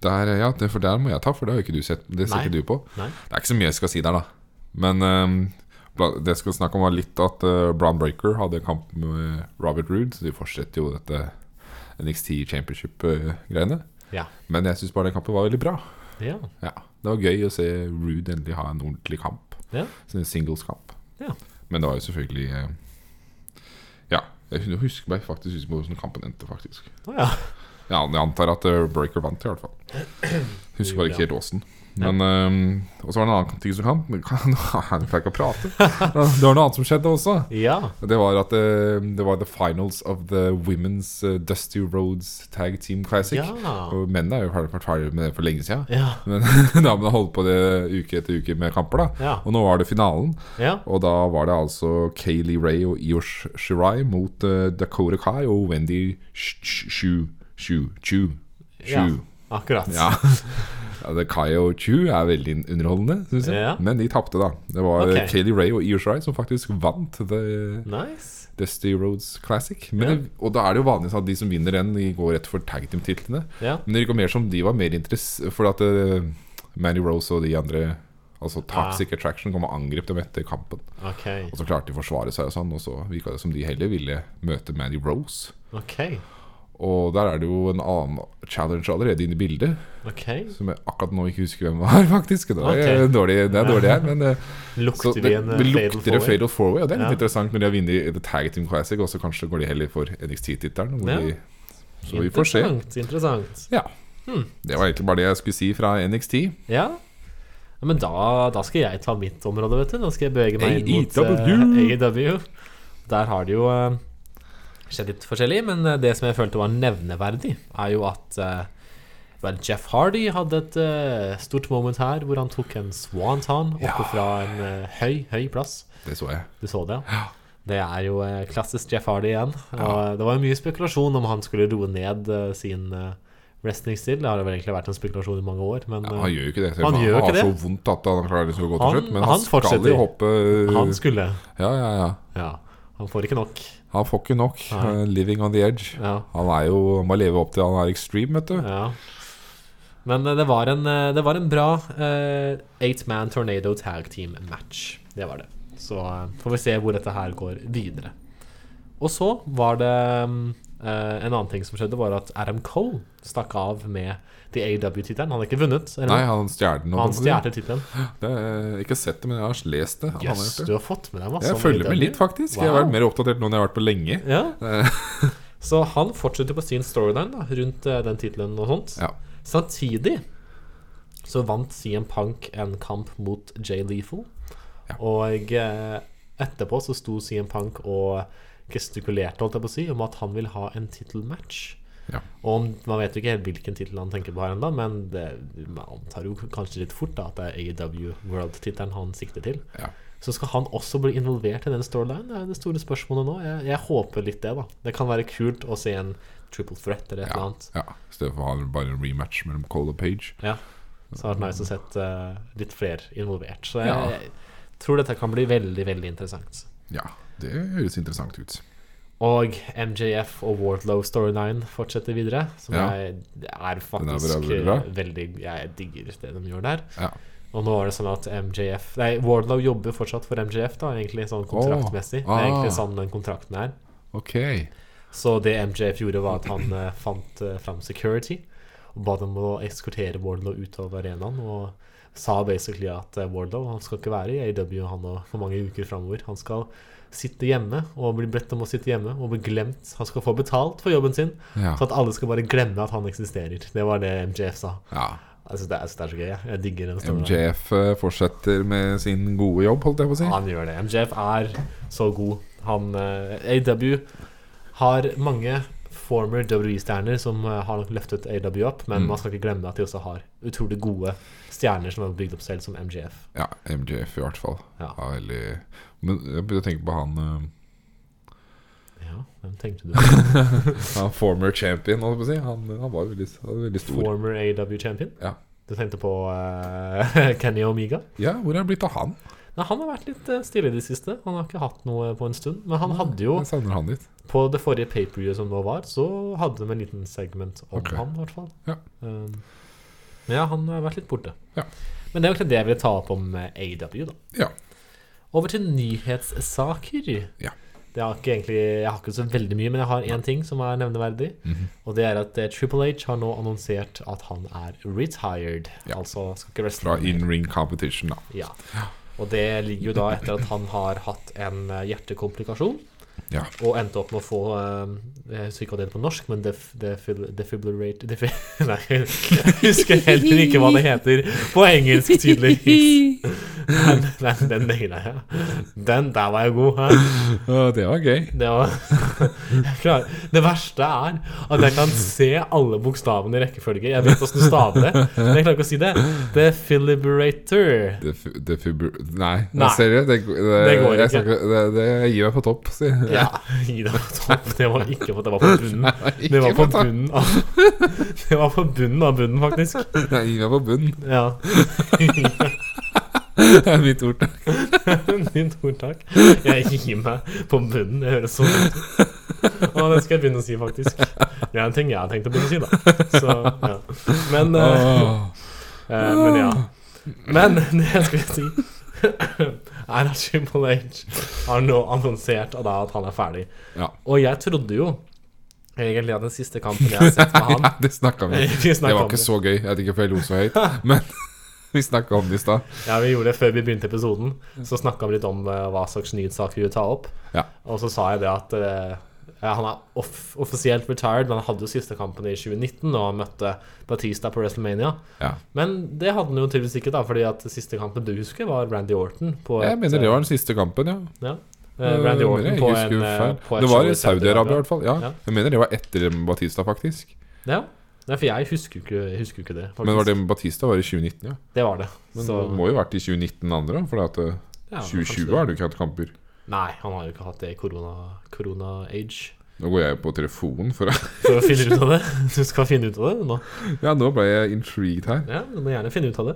Der, ja, det- for der må jeg ta, for det har jo ikke du sett. Det ser Nei. ikke du på. Nei. Det er ikke så mye jeg skal si der, da. Men ehm, bla- det jeg skal snakke om, var litt at uh, Brown Breaker hadde kamp med eh, Robert Roode, så de fortsetter jo dette NXT Championship-greiene. Ja. Men jeg syns bare den kampen var veldig bra. ja. Ja, Det var gøy å se Roode endelig ha en ordentlig kamp. Ja. Så det er singleskamp. Ja. Men det var jo selvfølgelig eh, Ja. Jeg kunne huske meg faktisk huske på hvordan kampen endte, faktisk. Å ja. Ja, jeg antar at eh, Breaker vant, i hvert fall. Husker bare ikke helt åsen. Ja. Men ehm, Og så var det en annen ting som kan Nå er jeg flink å prate. Det var noe annet som skjedde også. ja. Det var at eh, det var the finals of the women's eh, Dusty Roads Tag Team Classic. Ja. Og mennene er jo ferdig vært ferdig med det for lenge siden. Ja. Men damene holdt på det uke etter uke med kamper, da. Ja. Og nå var det finalen. ja. Og da var det altså Kaylee Ray og Io Sh- Shirai mot eh, Dakota Kai og Wendy Sh- Sh- Shu Shu Chu. Ja. Shu. Akkurat. Ja. ja det Kai og Chu er veldig underholdende, syns jeg. Ja. Men de tapte, da. Det var eh, Ok. Kaylee Ray og Io Shirai som faktisk vant The Nice. Dusty Roads Classic. Men, Og da er det jo vanlig sånn at de som vinner den, de går rett for tag team-titlene. Ja. Men det virka mer som de var mer interesse For at eh, Mandy Rose og de andre Altså Toxic Attraction kom og angrep dem etter kampen. Ok. Og så klarte de å forsvare seg, og sånn Og så virka det som de heller ville møte Mandy Rose. Ok. Og der er det jo en annen challenge allerede inne i bildet, Ok. som jeg akkurat nå ikke husker hvem var, faktisk. Det er, Ok. dårlig, det er dårlig her, men eh, så Lukter det, vi en eh, fatal det lukter en forward? Fatal Four-Way, og det er litt Ja. interessant når de har vunnet The Tag Team Classic, og så kanskje går de heller for NXT-tittelen. hvor Ja. de- Så vi får se. Interessant. Hmm. Interessant. Ja. Det var egentlig bare det jeg skulle si fra NXT. Ja. Ja, Men da, da skal jeg ta mitt område, vet du. Nå skal jeg bevege meg inn mot AEW. eh, AEW. Der har det jo eh, skjedd litt forskjellig, men eh, det som jeg følte var nevneverdig, er jo at eh, vel, Jeff Hardy hadde et eh, stort moment her hvor han tok en swanton oppe Ja. fra en eh, høy, høy plass. Det så jeg. Du så det, ja? Det er jo eh, klassisk Jeff Hardy igjen. Og eh, Det var jo mye spekulasjon om han skulle roe ned eh, sin eh, wrestling-stil. Det har vel egentlig vært en spekulasjon i mange år, men Ja, eh, han gjør jo ikke det. selv Han om gjør har ikke så vondt at han klarer liksom å gå til Han- slutt. Men han han, skal fortsetter. jo hoppe han skulle Ja, ja, ja. Ja, han får ikke nok. Han får ikke nok. Nei. eh, living on the edge. Ja, Han er jo Han må leve opp til han er extreme, vet du. ja. Men eh, det var en, eh, det var en bra eh, eight-man tornado tag team-match. Det var det. Så eh, får vi se hvor dette her går videre. Og så var det mm, eh, En annen ting som skjedde, var at Adam Cole stakk av med The AW-tittelen. Han har ikke vunnet. eller? Nei, han stjal den. han stjal tittelen. Det er- Ikke sett det, men jeg har lest det. at han har Jøss, gjort det. du har fått med deg masse Jeg om følger med AEW. litt, faktisk. Jeg har Wow. vært mer oppdatert nå enn jeg har vært på lenge. Ja. Så han fortsetter på sin storyline da, rundt eh, den tittelen og sånt. Ja. Samtidig så vant CM Punk en kamp mot Jay Lethal. Ja. Og eh, etterpå så sto CM Punk og gestikulerte, holdt jeg på å si, om at han vil ha en tittelmatch. Ja. Og om, man vet jo ikke helt hvilken tittel han tenker på her ennå, men det, man antar jo kanskje litt fort da at det er AEW World-tittelen han sikter til. Ja. Så skal han også bli involvert i den storylinen? Det er det store spørsmålet nå. Jeg, jeg håper litt det, da. Det kan være kult å se en triple threat eller et eller Ja. annet. ja. I stedet for å ha bare en rematch mellom Cole og Page. Ja. Så det har vært nice å sett eh, litt flere involvert. Så jeg, Ja. jeg tror dette kan bli veldig, veldig interessant. Ja, det høres interessant ut. Og MJF og Wardlow-storyline fortsetter videre. Som Ja. jeg, det er Den er faktisk veldig bra. eh, veldig Jeg digger det de gjør der. Ja. Og nå er det sånn at MJF Nei, Wardlow jobber fortsatt for MJF, da, egentlig sånn kontraktmessig. Det er ah. egentlig sånn den kontrakten er. Ok. Så det MJF gjorde, var at han eh, fant eh, fram security og ba dem å eskortere Wardlow ut av arenaen. Og sa basically at eh, Wardlow han skal ikke være i AW han nå for mange uker framover. Han skal sitte hjemme og bli bedt om å sitte hjemme og bli glemt. Han skal få betalt for jobben sin, Ja. så at alle skal bare glemme at han eksisterer. Det var det MJF sa. ja. Altså, det, er, det er så gøy. jeg. Jeg digger den storyen. MJF eh, fortsetter med sin gode jobb, holdt jeg på å si. Han gjør det. MJF er så god. Han eh, AW har mange former WWE-stjerner som eh, har nok løftet AW opp, men man skal ikke glemme at de også har utrolig gode stjerner som har bygd opp selv, som MJF. Ja, MJF i hvert fall. Ja. Ja, veldig Men jeg begynte å tenke på han eh, Ja, hvem tenkte du? Han former champion, holdt jeg på å si. Han, han var jo veldig, han var veldig stor. Former AW-champion? Ja. Du tenkte på eh, Kenny Omega? Ja, hvor er det blitt av han? Nei, han har vært litt eh, stille i det siste. Han har ikke hatt noe på en stund. Men han hadde jo Jeg savner han litt. På det forrige paperviewet som nå var, så hadde de en liten segment om Ok. han, i hvert fall. Ja. Um, men ja, han har vært litt borte. Ja. Men det er jo egentlig det jeg ville ta opp om eh, AW, da. Ja. Over til nyhetssaker. Ja. Det har ikke egentlig, jeg har ikke så veldig mye, men jeg har én ting som er nevneverdig. Mhm. Og det er at eh, Triple H har nå annonsert at han er retired. Ja. Altså skal ikke wrestle Fra mer. in ring competition, da. Ja. Og det ligger jo da etter at han har hatt en eh, hjertekomplikasjon. Ja. Og endte opp med å få eh, Jeg husker ikke hva det heter på norsk, men def, defil, defibrillate defi, Nei, jeg husker heller ikke hva det heter på engelsk, tydeligvis. Men den, den naila jeg. Den der var jeg god. Hæ? Ja, det var gøy. Det var Jeg klarer- Det verste er at jeg kan se alle bokstavene i rekkefølge. Jeg vet åssen du staver det, men jeg klarer ikke å si det. The Filiberator. Defib... defibr- Nei, Nei. seriøst. Det, det, Det går jeg ikke. Mm. snakker- det, det jeg gir meg på topp, si. Ja, gi deg på topp. Det var ikke på, det var på bunnen. Det var på bunnen av Det var på bunnen av bunnen, faktisk. Jeg gir meg på bunnen. Ja. Det er mitt ord. Din ordtak. Jeg gir meg på bunnen. Det høres sånn ut. Å, det skal jeg begynne å si, faktisk. Det er en ting jeg har tenkt å begynne å si, da. Så, ja. Men eh, Åh. Eh, men ja. Men det jeg skulle si, er at Triple H har nå annonsert at da at han er ferdig. Ja. Og jeg trodde jo egentlig at den siste kampen jeg har sett med han ja, det snakka vi om. Vi Det snakket var om ikke det. så gøy. Jeg vet ikke hvorfor jeg lo så høyt, men vi snakka om det i stad. Ja, vi gjorde det før vi begynte episoden. Så snakka vi litt om eh, hva slags nyhetssaker vi ville ta opp. Ja. Og så sa jeg det at eh, ja, han er off offisielt retired, men han hadde jo siste kampen i 2019, og han møtte Batista på WrestleMania. Ja. Men det hadde han jo tydeligvis ikke, da, fordi at siste kampen du husker, var Randy Orton. På Jeg et, mener eh, det var den siste kampen, ja. Ja. Eh, Randy Jeg Orton mener, jeg på husker en, feil. eh, på et Det show var i Saudi-Arabia, i hvert fall. Ja. Ja. Jeg mener det var etter Batista, faktisk. Ja. Nei, for jeg husker jo ikke, jeg husker jo ikke det. Faktisk. Men var det Batista var i 2019, ja. det var det. Men Så, det må jo vært i 2019 andre, for at eh, ja, kanskje 2020 det. har du ikke hatt kamper. Nei, han har jo ikke hatt det i korona- korona-age. Nå går jeg på telefonen for å For å finne ut av det. Du skal finne ut av det nå. Ja, nå ble jeg intrigued her. Ja, du må gjerne finne ut av det.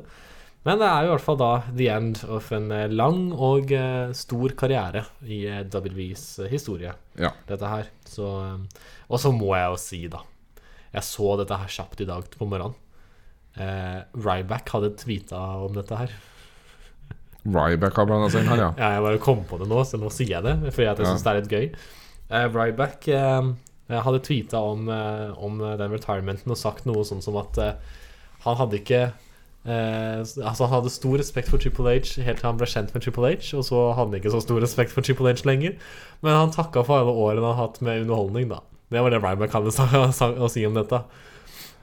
Men det er jo i hvert fall da the end of en eh, lang og eh, stor karriere i eh, WWEs historie. Ja. dette her. Så, eh, og så må jeg jo si, da Jeg så dette her kjapt i dag på morgenen. Eh, Ryback hadde tweeta om dette her. Ryback har blanda seg inn her, ja. Ja, jeg bare kom på det nå, så nå sier jeg det. Fordi at jeg Ja. syns det er litt gøy. Eh, Ryback eh, jeg hadde tweeta om, eh, om den retirementen og sagt noe sånn som at eh, han hadde ikke eh, s- altså Han hadde stor respekt for Triple H helt til han ble kjent med Triple H, og så hadde han ikke så stor respekt for Triple H lenger. Men han takka for alle årene han har hatt med underholdning, da. Det var det Ryback hadde sa- sa- å si om dette.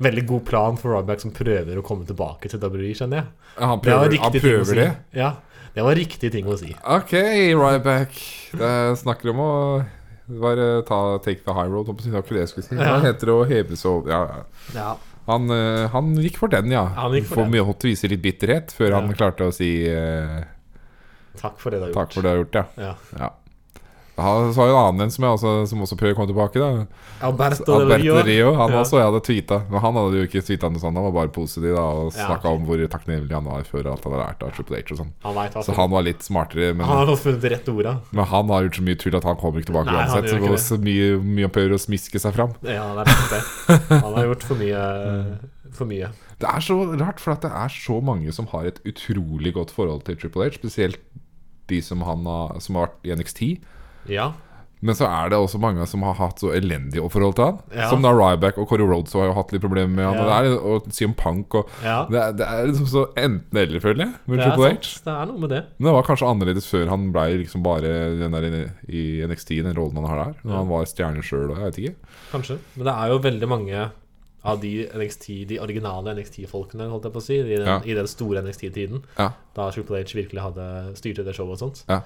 Veldig god plan for Ryback som prøver å komme tilbake til WWE, skjønner jeg. Ja, Han Det var prøver, han riktig ting å prøver si. det. Ja, det var riktig ting å si. Ok, Ryback. Det snakker om å bare ta take the high road. holdt på å si. Det var ikke det jeg skulle si. Ja. Han heter å heve seg over ja, ja. Ja, han, eh, han gikk for den, ja. Han gikk for den. mye hot viser litt bitterhet før han Ja. klarte å si eh, Takk for det du har gjort. takk for det du har gjort, ja. Ja. ja. Han, så var jo en annen en som, jeg også, som også prøver å komme tilbake. da Alberto, Alberto Rio. Han Ja. også jeg hadde tweeta. Men han hadde jo ikke tweeta noe sånt. Han var bare positiv da og Ja. snakka om hvor takknemlig han var for alt han hadde lært av Triple H og sånn. Han vet hva Så han var litt smartere, men Han har fått funnet de rette orda. Men han har gjort så mye tull at han kommer ikke tilbake Nei, han uansett. gjør Så ikke det. Så mye, mye prøver å smiske seg fram. Ja, det er rett det. Han har gjort for mye. Mm. For mye. Det er så rart, for at det er så mange som har et utrolig godt forhold til Triple H. Spesielt de som, han har, som har vært i NXT. Ja. Men så er det også mange som har hatt så elendige forhold til han. Ja. Som da Ryback og Corey Rhodes har jo hatt litt problemer med han. Ja. Og, det er, og CM Punk og ja. det, er, det er liksom så enten-eller, føler jeg, med Det er Triple sant. H. Det er noe med det. Men det var kanskje annerledes før han ble liksom bare den der i, i NXT, den rollen han har der. Når Ja. han var stjerne sjøl og jeg vet ikke. Kanskje. Men det er jo veldig mange av de, NXT, de originale NXT-folkene, holdt jeg på å si, i den, Ja. i den store NXT-tiden, Ja. da Triple H virkelig hadde styrte det showet og sånt, Ja.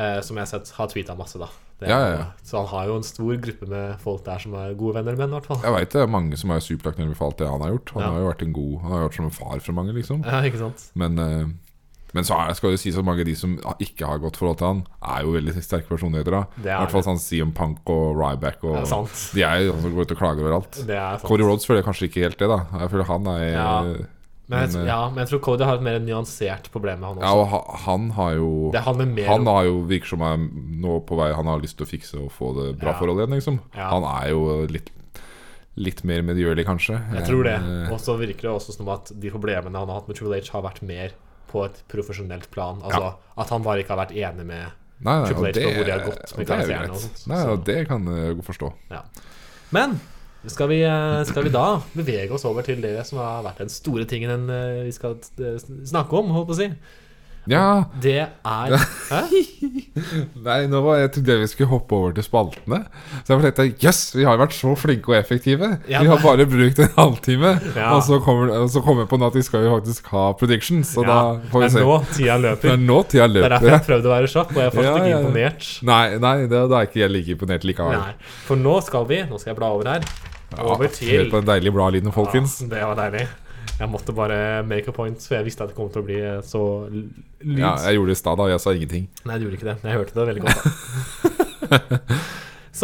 eh, som jeg har sett har tweeta masse, da. Det, er- Ja, ja, ja. Så han har jo en stor gruppe med folk der som er gode venner med ham, i hvert fall. Jeg veit det er mange som er supertakknemlige for alt det han har gjort. Han Ja. har jo vært en god Han har vært som en far for mange, liksom. Ja, ikke sant? Men, eh, men så er, skal det jo sies at mange av de som ikke har godt forhold til han, er jo veldig sterke personligheter. da Det I er hvert fall sånn CM Punk og Ryback og Det er sant. De er jo sånn som går ut og klager over alt. Det er sant. Corey Rhodes føler jeg kanskje ikke helt det, da. Jeg føler han er Ja. Men, jeg, Men, tr- eh, ja, men jeg tror Cody har et mer nyansert problem med han Ja, også. og ha- han har jo Det handler mer han om har jo virker som er nå på vei Han har lyst til å fikse og få det bra Ja. forhold igjen, liksom. Ja. Han er jo litt, litt mer medgjørlig, kanskje. Jeg tror det. enn, eh, Og så virker det også som at de problemene han har hatt med Triple H, har vært mer på et profesjonelt plan. Altså at han bare ikke har vært enig med Nei, nei, Triple og H det, på hvor de har gått og med det er jo karakteren og greit. sånt, Nei, så- og det kan jeg godt forstå. Ja. Men skal vi, eh, skal vi da bevege oss over til det som har vært den store tingen eh, vi skal eh, snakke om, holdt på å si. Ja, Det er Hæ? Nei, nå var jeg trodde jeg vi skulle hoppe over til spaltene. Så jeg bare tenkte jøss, yes, vi har vært så flinke og effektive. Ja, vi har men- bare brukt en halvtime, Ja. og så kommer, og så kommer jeg på nå at vi skal jo faktisk ha predictions. Så Ja, da får vi Det se. er nå tida Det løper. er nå tida Det er derfor løper. jeg prøvde å være kjapp, og jeg er faktisk Ja, ikke ja, ja. imponert. Nei, nei, det, da er ikke jeg like imponert likevel. Nei, for nå skal vi Nå skal jeg bla over her. Over Hør til på den deilige bladlyden, folkens. Ja, det var deilig. Jeg måtte bare make a point, for jeg visste at det kom til å bli eh, så l- lyd. Ja, jeg gjorde det i stad, da. og Jeg sa ingenting. Nei, du gjorde ikke det. Jeg hørte det veldig godt.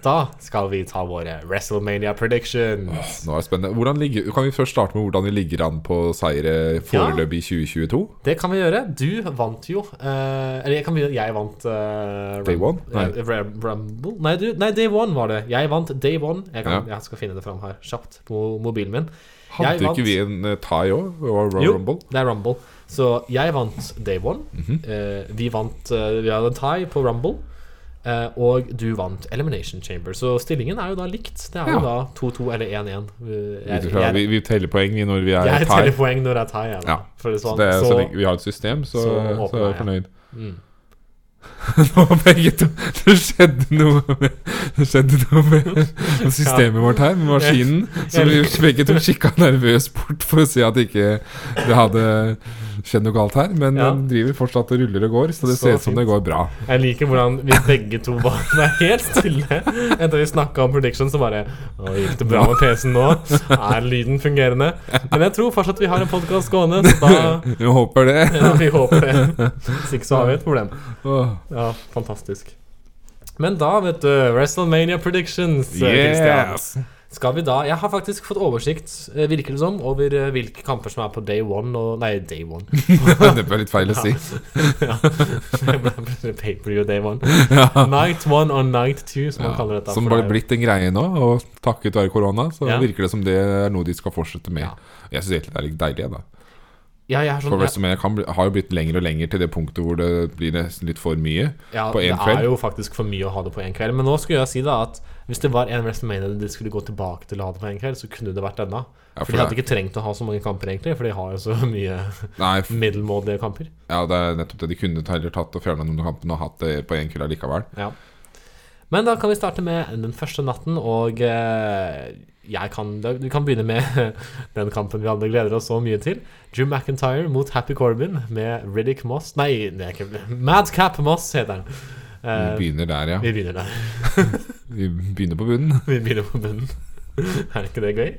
Da. så da skal vi ta våre WrestleMania predictions. Nå er det spennende. Hvordan ligger, kan vi først starte med hvordan vi ligger an på seire foreløpig i 2022? Det kan vi gjøre. Du vant jo eh, Eller jeg kan begynne. Jeg vant eh, Day Rum- one? Nei. eh, Rum- Rumble? Nei, du, nei, Day One var det. Jeg vant Day One. Jeg, kan, Ja. jeg skal finne det fram her kjapt på mobilen min. Jeg Hadde vant. ikke vi en eh, tie òg? Royal Rumble? Mhm. det er Rumble. Så jeg vant Day One. Eh, vi vant eh, Vi hadde en tie på Rumble. eh, og du vant Elimination Chamber. Så stillingen er jo da likt. Det er jo Ja. da 2-2 eller 1-1. Eh, Vi, Jeg, vi, jeg, vi teller poeng vi når vi er jeg tie. teller poeng når det er tie. jeg, da, Ja. For det er Så, sånn. det, er- så, så, lenge vi har et system, så, så så, åpner er jeg. jeg fornøyd. Mm. Nå var begge to Det skjedde noe med Det skjedde noe med med systemet vårt her, med maskinen. Så vi begge to kikka nervøst bort for å se at ikke det hadde skjedd noe galt her. Men Ja. den driver fortsatt og ruller og går, så det Så ser ut som det fint. går bra. jeg liker hvordan vi begge to var var helt stille etter vi snakka om prediction. Så bare Å, gikk det bra med PC-en nå? Er lyden fungerende? Men jeg tror fortsatt vi har en podkast gående, så da Vi håper det. Ja, vi håper det. Hvis ikke så har vi et problem. Åh. Ja, fantastisk. Men da, vet du, WrestleMania predictions. eh, Yes! Christian. Skal vi da Jeg har faktisk fått oversikt, eh, virker det som, over eh, hvilke kamper som er på day one og Nei, day one. Det ble litt feil å si. Ja. Paperview day one. Night one og night two, som man Ja, kaller dette. som for bare det er jo- blitt en greie nå, og takket være korona, så Ja. virker det som det er noe de skal fortsette med. Ja. Jeg syns egentlig det er litt deilig, da. ja, jeg er sånn, For WrestleMania kan bli, har jo blitt lenger og lenger til det punktet hvor det blir nesten litt for mye. Ja, på én Det kveld. er jo faktisk for mye å ha det på én kveld. Men nå skulle jeg si da at hvis det var en WrestleMania de skulle gå tilbake til å ha det på én kveld, så kunne det vært denne. Ja, for for de hadde det- ikke trengt å ha så mange kamper, egentlig, for de har jo så mye Nei, f middelmådige kamper. ja, det er nettopp det. De kunne ta- heller tatt og fjerna noen av kampene og hatt det på én kveld likevel. Ja. Men da kan vi starte med den første natten, og eh, jeg kan, da- vi kan begynne med den kampen vi alle gleder oss så mye til. Drew McIntyre mot Happy Corbin med Riddick Moss Nei, det er ikke Madcap Moss heter han. Vi Eh, begynner der, ja. vi begynner der. Vi begynner på bunnen. Vi begynner på bunnen. Er ikke det gøy?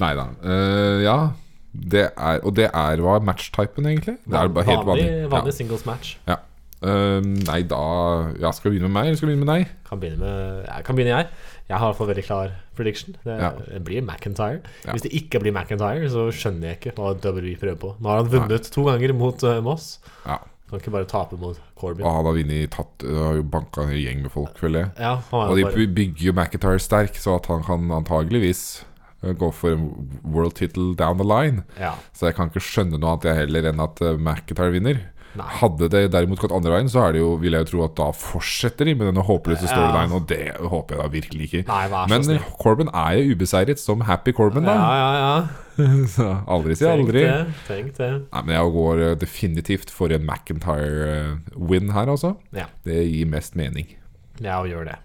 Nei da. Eh, ja. Det er, og det er hva er matchtypen, egentlig? Det er bare helt vanlig. vanlig singles match. Ja. Ja. Eh, nei, da ja, Skal vi begynne med meg, eller skal vi begynne med deg? Kan begynne, med, jeg kan begynne jeg. Jeg har i hvert fall veldig klar prediction. Det, Ja. det blir McIntyre. Ja. Hvis det ikke blir McIntyre, så skjønner jeg ikke hva WWE prøver på. Nå har han vunnet to ganger mot eh, Moss. Ja. Kan ikke bare tape mot Corbyn. Og han har vunnet tatt øh, har jo banka en gjeng med folk, føler jeg. Ja, han Og er de jo bare by- bygger jo McIntyre sterk, så at han kan antageligvis øh, gå for en world title down the line. ja. Så jeg kan ikke skjønne noe annet jeg heller enn at øh, McIntyre vinner. Nei. Hadde det derimot gått andre veien, så er det jo, vil jeg jo tro at da fortsetter de med denne håpløse storylinen, og det håper jeg da virkelig ikke. Nei, vær så Men snill. Corbin er jo ubeseiret som Happy Corbin, Ja, da. ja, ja. Så aldri si Tenk aldri. det. Tenk det. Nei, men jeg går øh, definitivt for en McIntyre-win her, altså. Ja. Det gir mest mening. Ja, og gjør det.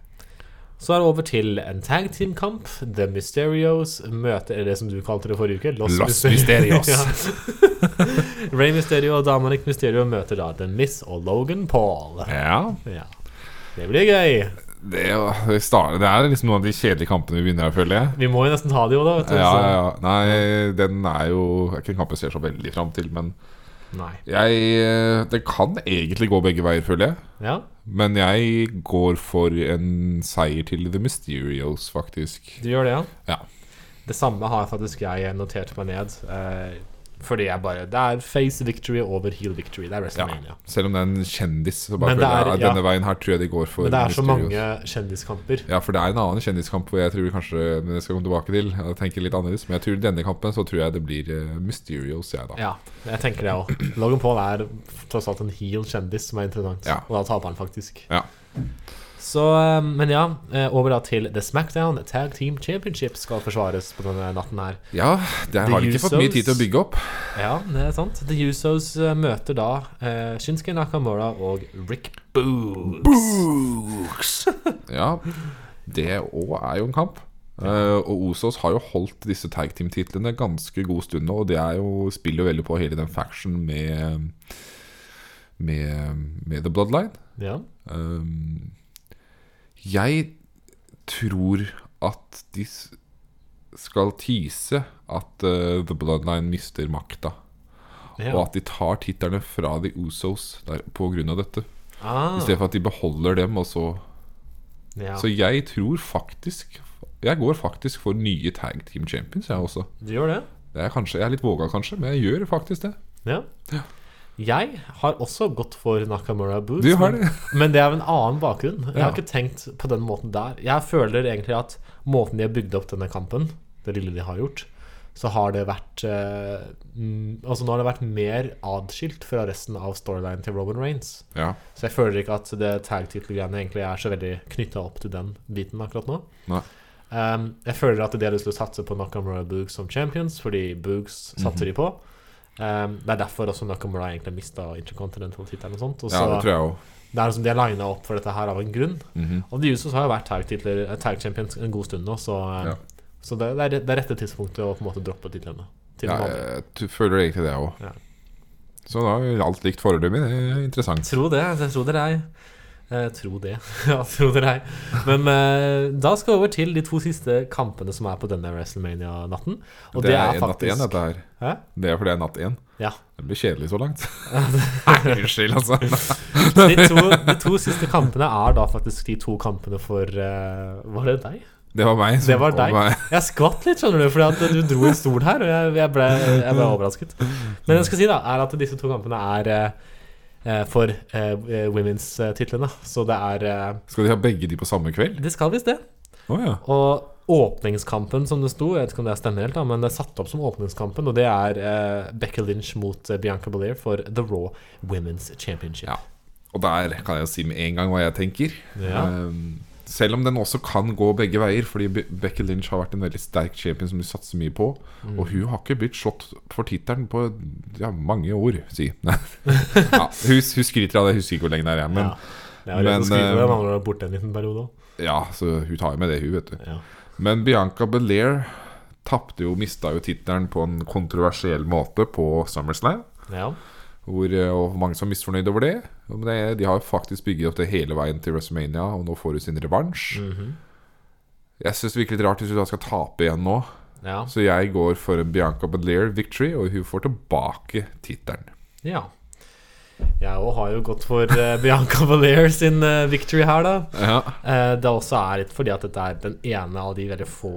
Så er det over til en tag team-kamp. The Mysterios møter eller det som du kalte det forrige uke. Los, Los Mysterios. Ray Mysterio og Dominic Mysterio møter da The Miss og Logan Paul. Ja, Ja. Det blir gøy. det er, jo- det sta- det er liksom noen av de kjedelige kampene vi begynner her, føler jeg. Vi må jo nesten ta det jo, da. Vet du, Ja, ja, så- ja. Nei, den er jo det er ikke en kamp jeg ser så veldig fram til, men Nei. jeg eh, Det kan egentlig gå begge veier, føler jeg. Ja, Men jeg går for en seier til The Mysterios, faktisk. du gjør det, ja. Ja. Det samme har faktisk jeg notert meg ned. Eh, fordi jeg bare Det er face victory over heel victory. Det er ja. WrestleMania. Selv om det er en kjendis, så bare Men det føler jeg er- at ja. denne veien her tror jeg de går for Men det er så Mysterios. mange kjendiskamper. Ja, for det er en annen kjendiskamp hvor jeg tror kanskje Men jeg skal komme tilbake til. Jeg tenker litt annerledes Men jeg tror denne kampen så tror jeg det blir eh, Mysterios, jeg, da. Ja, jeg tenker det òg. Logan Paul er tross alt en heel kjendis som er interessant, Ja. og da taper han faktisk. Ja. Så, eh, men ja, eh, over da til The Smackdown Tag Team Championship skal forsvares på denne natten her. Ja, der har de ikke fått mye Usos. tid til å bygge opp. Ja, det er sant. The Usos eh, møter da eh, Shinsuke Nakamura og Rick Boogs. Ja, det òg er jo en kamp. Eh, og Osos har jo holdt disse tag team-titlene ganske god stund nå, og det er jo, spiller jo veldig på hele den faction med Med, med The Bloodline. Ja. Um, jeg tror at de s- skal tease at eh, The Bloodline mister makta. ja. Og at de tar titlene fra The Usos der, på grunn av dette. Ah, I stedet for at de beholder dem, og så ja. Så jeg tror faktisk Jeg går faktisk for nye tag team champions, jeg også. Du gjør det? Det er kanskje, jeg er litt våga, kanskje, men jeg gjør faktisk det. Ja. Jeg har også gått for Nakamura Boots. Du har det. Men, men det er av en annen bakgrunn. Jeg har Ja. ikke tenkt på den måten der. Jeg føler egentlig at måten de har bygd opp denne kampen, det lille de har gjort, så har det vært eh, mm, Altså nå har det vært mer adskilt fra resten av storylinen til Roman Reigns. Ja, Så jeg føler ikke at det tag-titel-greiene egentlig er så veldig knytta opp til den biten akkurat nå. Nei. Um, jeg føler at de har lyst til å satse på Nakamura og Boogs som champions, fordi Boogs Mhm. satser de på. Um, det er derfor også Nakamura egentlig mista Intercontinental-tittelen og sånt. Og ja så det tror jeg òg. det er liksom de har lina opp for dette her av en grunn. Mhm. Og de Usos har jo vært tag-titler- eh, tag-champions en god stund nå, så, um, Ja. så det, det, er, det er rette tidspunktet å på en måte droppe titlene. Til Ja, noen andre. jeg t- føler egentlig det òg. Ja. Så da er alt likt foreløpig. Det er interessant. Tro det, altså, tro dere ei. Eh, tro det. ja, tro dere ei. Men eh, da skal vi over til de to siste kampene som er på denne WrestleMania-natten. Og det, er, en natt faktisk én, dette her. Hæ? Det er fordi det er natt én. Ja. Det blir kjedelig så langt. Nei, unnskyld, altså. De to, de to siste kampene er da faktisk de to kampene for eh, Var det deg? Det var meg. som Det var kom deg. meg. Jeg skvatt litt, skjønner du, fordi at du dro en stol her, og jeg, jeg, ble, jeg ble overrasket. Men det jeg skal si, da, er at disse to kampene er eh, eh, for eh, women's-titlene. Så det er eh, Skal de ha begge de på samme kveld? Det skal visst det. Å ja. Og åpningskampen som det sto, jeg vet ikke om det stemmer helt, da, men det er satt opp som åpningskampen, og det er eh, Becky Lynch mot eh, Bianca Belair for The Raw Women's Championship. Ja. Og der kan jeg jo si med en gang hva jeg tenker. Ja. Ehm, selv om den også kan gå begge veier, fordi Be- Becky Lynch har vært en veldig sterk champion som de satser mye på. Og hun har ikke blitt slått for tittelen på ja, mange år, si. Nei. ja, hun, hun skryter av det, jeg husker ikke hvor lenge det er, men Ja. Det er jo rett men, å skrive eh, det, man var borte en liten periode òg. ja. så hun tar jo med det, hun, vet du. Ja. Men Bianca Belair tapte jo, mista jo tittelen på en kontroversiell måte på SummerSlam. Ja. Hvor, eh, og mange som er misfornøyd over det. Men det, de har jo faktisk bygget opp det hele veien til WrestleMania, og nå får hun sin revansj. Mhm. Jeg syns det virker litt rart hvis hun da skal tape igjen nå. ja. Så jeg går for en Bianca Belair victory, og hun får tilbake tittelen. ja. Jeg òg har jo gått for eh, Bianca Belair sin eh, victory her, da. Ja. Eh, det også er litt fordi at dette er den ene av de veldig få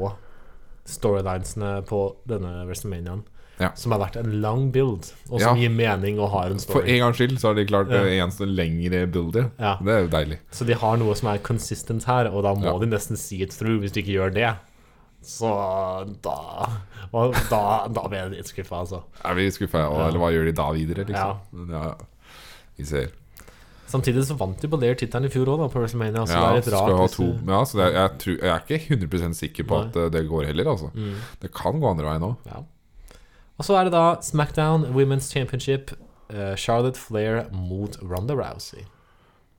storylinesene på denne WrestleManiaen Ja. som har vært en lang build, og som Ja. gir mening og har en story. For en gangs skyld så har de klart det eneste lengre bildet. Ja. Det er jo deilig. Så de har noe som er consistent her, og da må Ja. de nesten see it through. Hvis de ikke gjør det, så da og Da, da ble jeg litt skuffa, altså. Er vi skuffa? Eller hva gjør de da videre, liksom? Ja. Men Ja. Vi ser. Samtidig så vant de på Lair tittelen i fjor òg, på WrestleMania. Så det er litt så skal rart. vi ha hvis to- du- ja, så det er, jeg, tror, jeg er ikke 100 sikker på Nei. Mm. at eh, det går heller, altså. Det kan gå andre veien òg. Ja. Og så er det da Smackdown Women's Championship. eh, Charlotte Flair mot Ronda Rousey.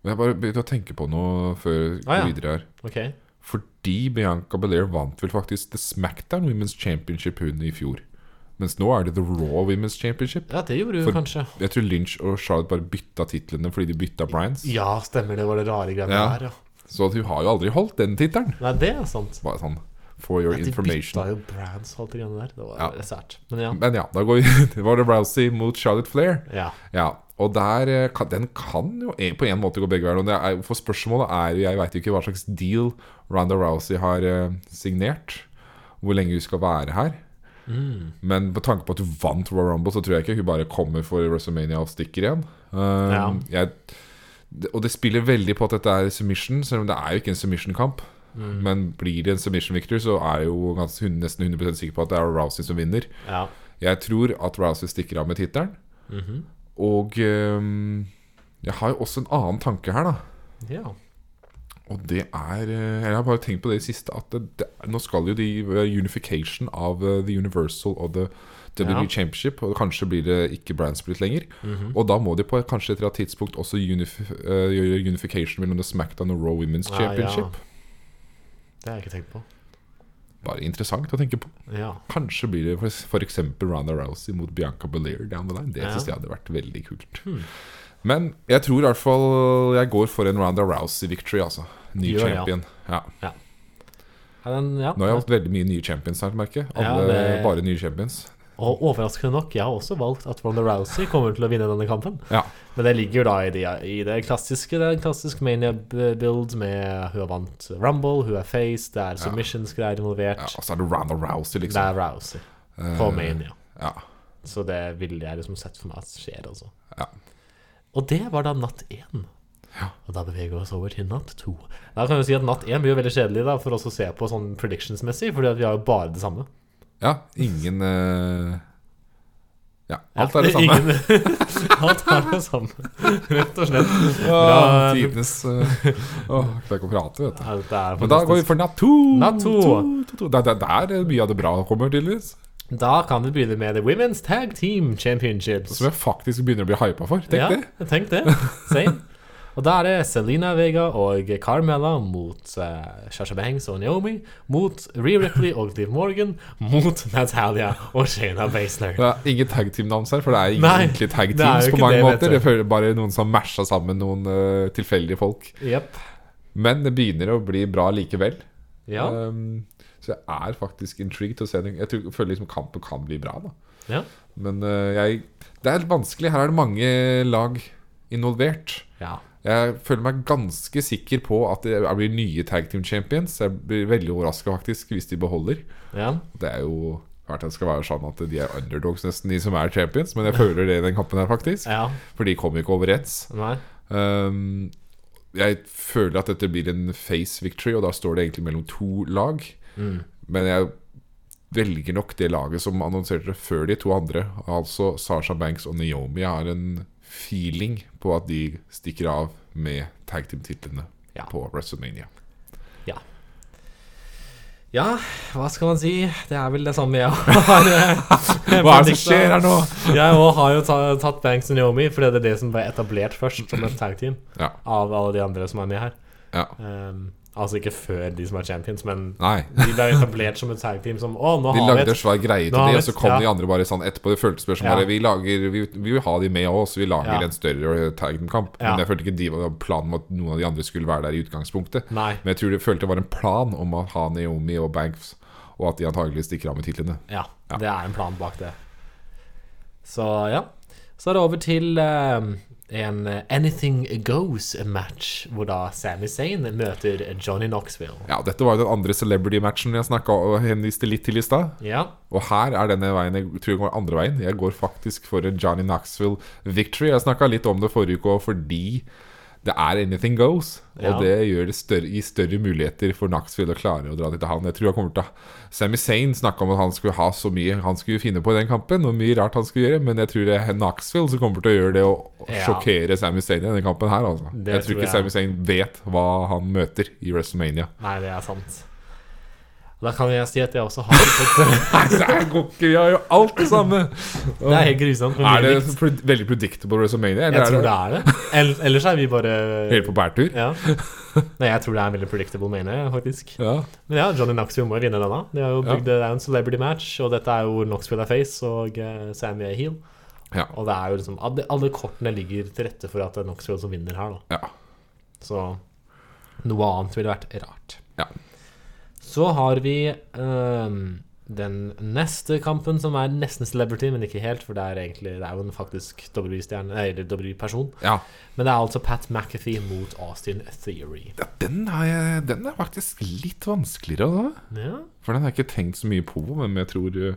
Men Jeg bare begynte å tenke på noe før vi går Ah, ja. videre her. Ok, Fordi Bianca Belair vant vel faktisk The Smackdown Women's Championship hun i fjor. Mens nå er det The Raw Women's Championship. Ja, det gjorde hun For- kanskje. Jeg tror Lynch og Charlotte bare bytta titlene fordi de bytta brands. Ja, stemmer. Det var det rare greiene Ja. der, ja. Så at hun har jo aldri holdt den tittelen. Nei, det er sant. Bare sånn for your At de bytta information. jo brands og alt det greiene der. Det var Ja. sært. Men ja. Men ja, da går vi Det var det Rousey mot Charlotte Flair. ja. Ja, og der eh, kan, den kan jo en- på en måte gå begge veier. og det er- For spørsmålet er jo Jeg veit jo ikke hva slags deal Ronda Rousey har eh, signert. Hvor lenge hun skal være her. Men på tanke på at hun vant Royal Rumble, så tror jeg ikke hun bare kommer for WrestleMania og stikker igjen. Um, jeg, det- og det spiller veldig på at dette er submission, selv om det er jo ikke en submission-kamp. Men blir det en submission victor, så er jeg jo ganske, hun- nesten 100 sikker på at det er Rousey som vinner. ja. Jeg tror at Rousey stikker av med tittelen. Mhm. Og ehm, jeg har jo også en annen tanke her, da. ja. Og det er eh, Jeg har bare tenkt på det i det siste at det, det, nå skal jo de eh, unification av eh, The Universal og The WWE Ja. Championship, og kanskje blir det ikke brand split lenger. Mhm. Og da må de på et- kanskje et eller annet tidspunkt også unif eh, gjøre unification mellom The SmackDown og Raw Women's Ah, Championship. ja. Det har jeg ikke tenkt på. Bare interessant å tenke på. Ja. Kanskje blir det f.eks. Ronda Rousey mot Bianca Belair down the line. Det Ja. synes jeg hadde vært veldig kult. Hmm. Men jeg tror i hvert fall jeg går for en Ronda Rousey-victory, altså. Ny Gjør det, ja. champion. Ja. Ja, Den, ja. Nå har jeg hatt veldig mye nye champions her, merker jeg. Ja, Alle det- bare nye champions. Og overraskende nok, jeg har også valgt at Ronda Rousey kommer til å vinne denne kampen. Ja. Men det ligger jo da i det, i det klassiske det er en klassisk Mania-build med hun har vant Rumble, hun er face, det er submissions-greier involvert. ja, så er det Ronda Rousey, Det liksom. er Rousey på Eh, Mania. ja. Så det ville jeg liksom sett for meg at skjer, altså. Ja. Og det var da natt én. Ja. Og da beveger vi oss over til natt to. Da kan vi si at natt én blir jo veldig kjedelig da, for oss å se på sånn predictions-messig, fordi at vi har jo bare det samme. ja, ingen eh, Ja, Ja, alt er det samme. Ingen, alt er det samme, rett og slett. Åh, Bra. Tidenes eh, Åh, jeg klarer ikke å prate, vet du. Ja, dette er Men da går vi fantastisk. for natt to. Natt to. to, to. Det er der, der mye av det bra kommer, tydeligvis. Da kan vi begynne med The Women's Tag Team Championships. Som jeg faktisk begynner å bli hypa for. Tenk det. Ja, tenk det. Same. Og da er det Selena Vega og Carmella mot eh, Sasha Banks og Naomi, mot Ree Ripley og Liv Morgan, mot Natalia og Shayna Baszler. Det er ingen tag team-navn her, for det er ingen Nei, ordentlige tag det er teams jo på ikke mange det, vet måter. du. Det føler bare noen som har masha sammen noen eh, tilfeldige folk. Jepp. Men det begynner å bli bra likevel. Ja. Um, så jeg er faktisk intrigued til å se den. Jeg, tror, jeg føler liksom kampen kan bli bra, da. ja. Men eh, jeg Det er vanskelig. Her er det mange lag involvert. Ja. Jeg føler meg ganske sikker på at det blir nye tag team champions. Jeg blir veldig overraska faktisk hvis de beholder. ja. Det er jo klart det skal være sånn at de er underdogs, nesten, de som er champions. Men jeg føler det i den kampen her, faktisk. Ja. For de kommer ikke overens. Nei. Um, jeg føler at dette blir en face victory, og da står det egentlig mellom to lag. Mm. Men jeg velger nok det laget som annonserte det før de to andre. Altså Sasha Banks og Naomi. Jeg har en feeling på at de stikker av med tag team-titlene Ja. på WrestleMania. Ja, hva skal man si? Det er vel det samme jeg har Hva er det som skjer her nå? Jeg også har jo ta, tatt Banks og Naomi, fordi det er det som ble etablert først som et tag team Ja, av alle de andre som er med her. ja. Um, altså ikke før de som er champions, men Nei. de ble etablert som et tag team som Å, nå har De vi lagde en et svær greie til Nå har de, vi og så et- kom ja. de andre bare sånn etterpå. Det føltes mer som Ja. bare vi, lager, vi, vi vil ha de med også, vi lager Ja. en større eh, tag team-kamp. Ja. Men jeg følte ikke de var planen om at noen av de andre skulle være der i utgangspunktet. Nei. Men jeg tror det følte det var en plan om å ha Naomi og Banks, og at de antagelig stikker av med titlene. Ja, Ja. det er en plan bak det. Så ja. Så er det over til um, en Anything Goes-match, hvor da Sami Zayn møter Johnny Knoxville. Ja, dette var jo den andre celebrity-matchen jeg snakka og henviste litt til i stad. Ja. Og her er denne veien jeg tror jeg går andre veien. Jeg går faktisk for en Johnny Knoxville victory. Jeg snakka litt om det forrige uke også, fordi det er anything goes. Og Ja. det gjør det større, gir større muligheter for Knoxville å klare å dra dit til han. Jeg tror han kommer til å Sami Zayn snakka om at han skulle ha så mye han skulle finne på i den kampen, og mye rart han skulle gjøre, men jeg tror det er Knoxville som kommer til å gjøre det og Ja. sjokkere Sami Zayn i denne kampen her, altså. Det Jeg tror tror jeg. ikke Sami Zayn vet hva han møter i WrestleMania. Nei, det er sant. Da kan jeg si at jeg også har et Nei, det er går ikke, vi har jo alt det samme! Det er helt grusomt. men Er det likt. pre veldig predictable WrestleMania? Eller Jeg tror er det det, er det. Ell- Ellers er vi bare helt på bærtur? Ja. Nei, jeg tror det er en veldig predictable mania, faktisk. Ja. Men ja, Johnny Knoxville må jo vinne denne. De har jo Ja. bygd det er en celebrity match, og dette er jo Knoxville er face og eh, Sammy er heel. Ja. Og det er jo liksom alle, alle kortene ligger til rette for at det er Knoxville som vinner her, da. Ja. Så noe annet ville vært rart. Ja. Så har vi ehm, den neste kampen, som er nesten celebrity, men ikke helt, for det er egentlig Det er jo en faktisk W-stjerne, nei, eller W-person. ja. Men det er altså Pat McAfee mot Austin Theory. ja den, har jeg, den er faktisk litt vanskeligere, da. Ja. For den har jeg ikke tenkt så mye på, men jeg tror uh,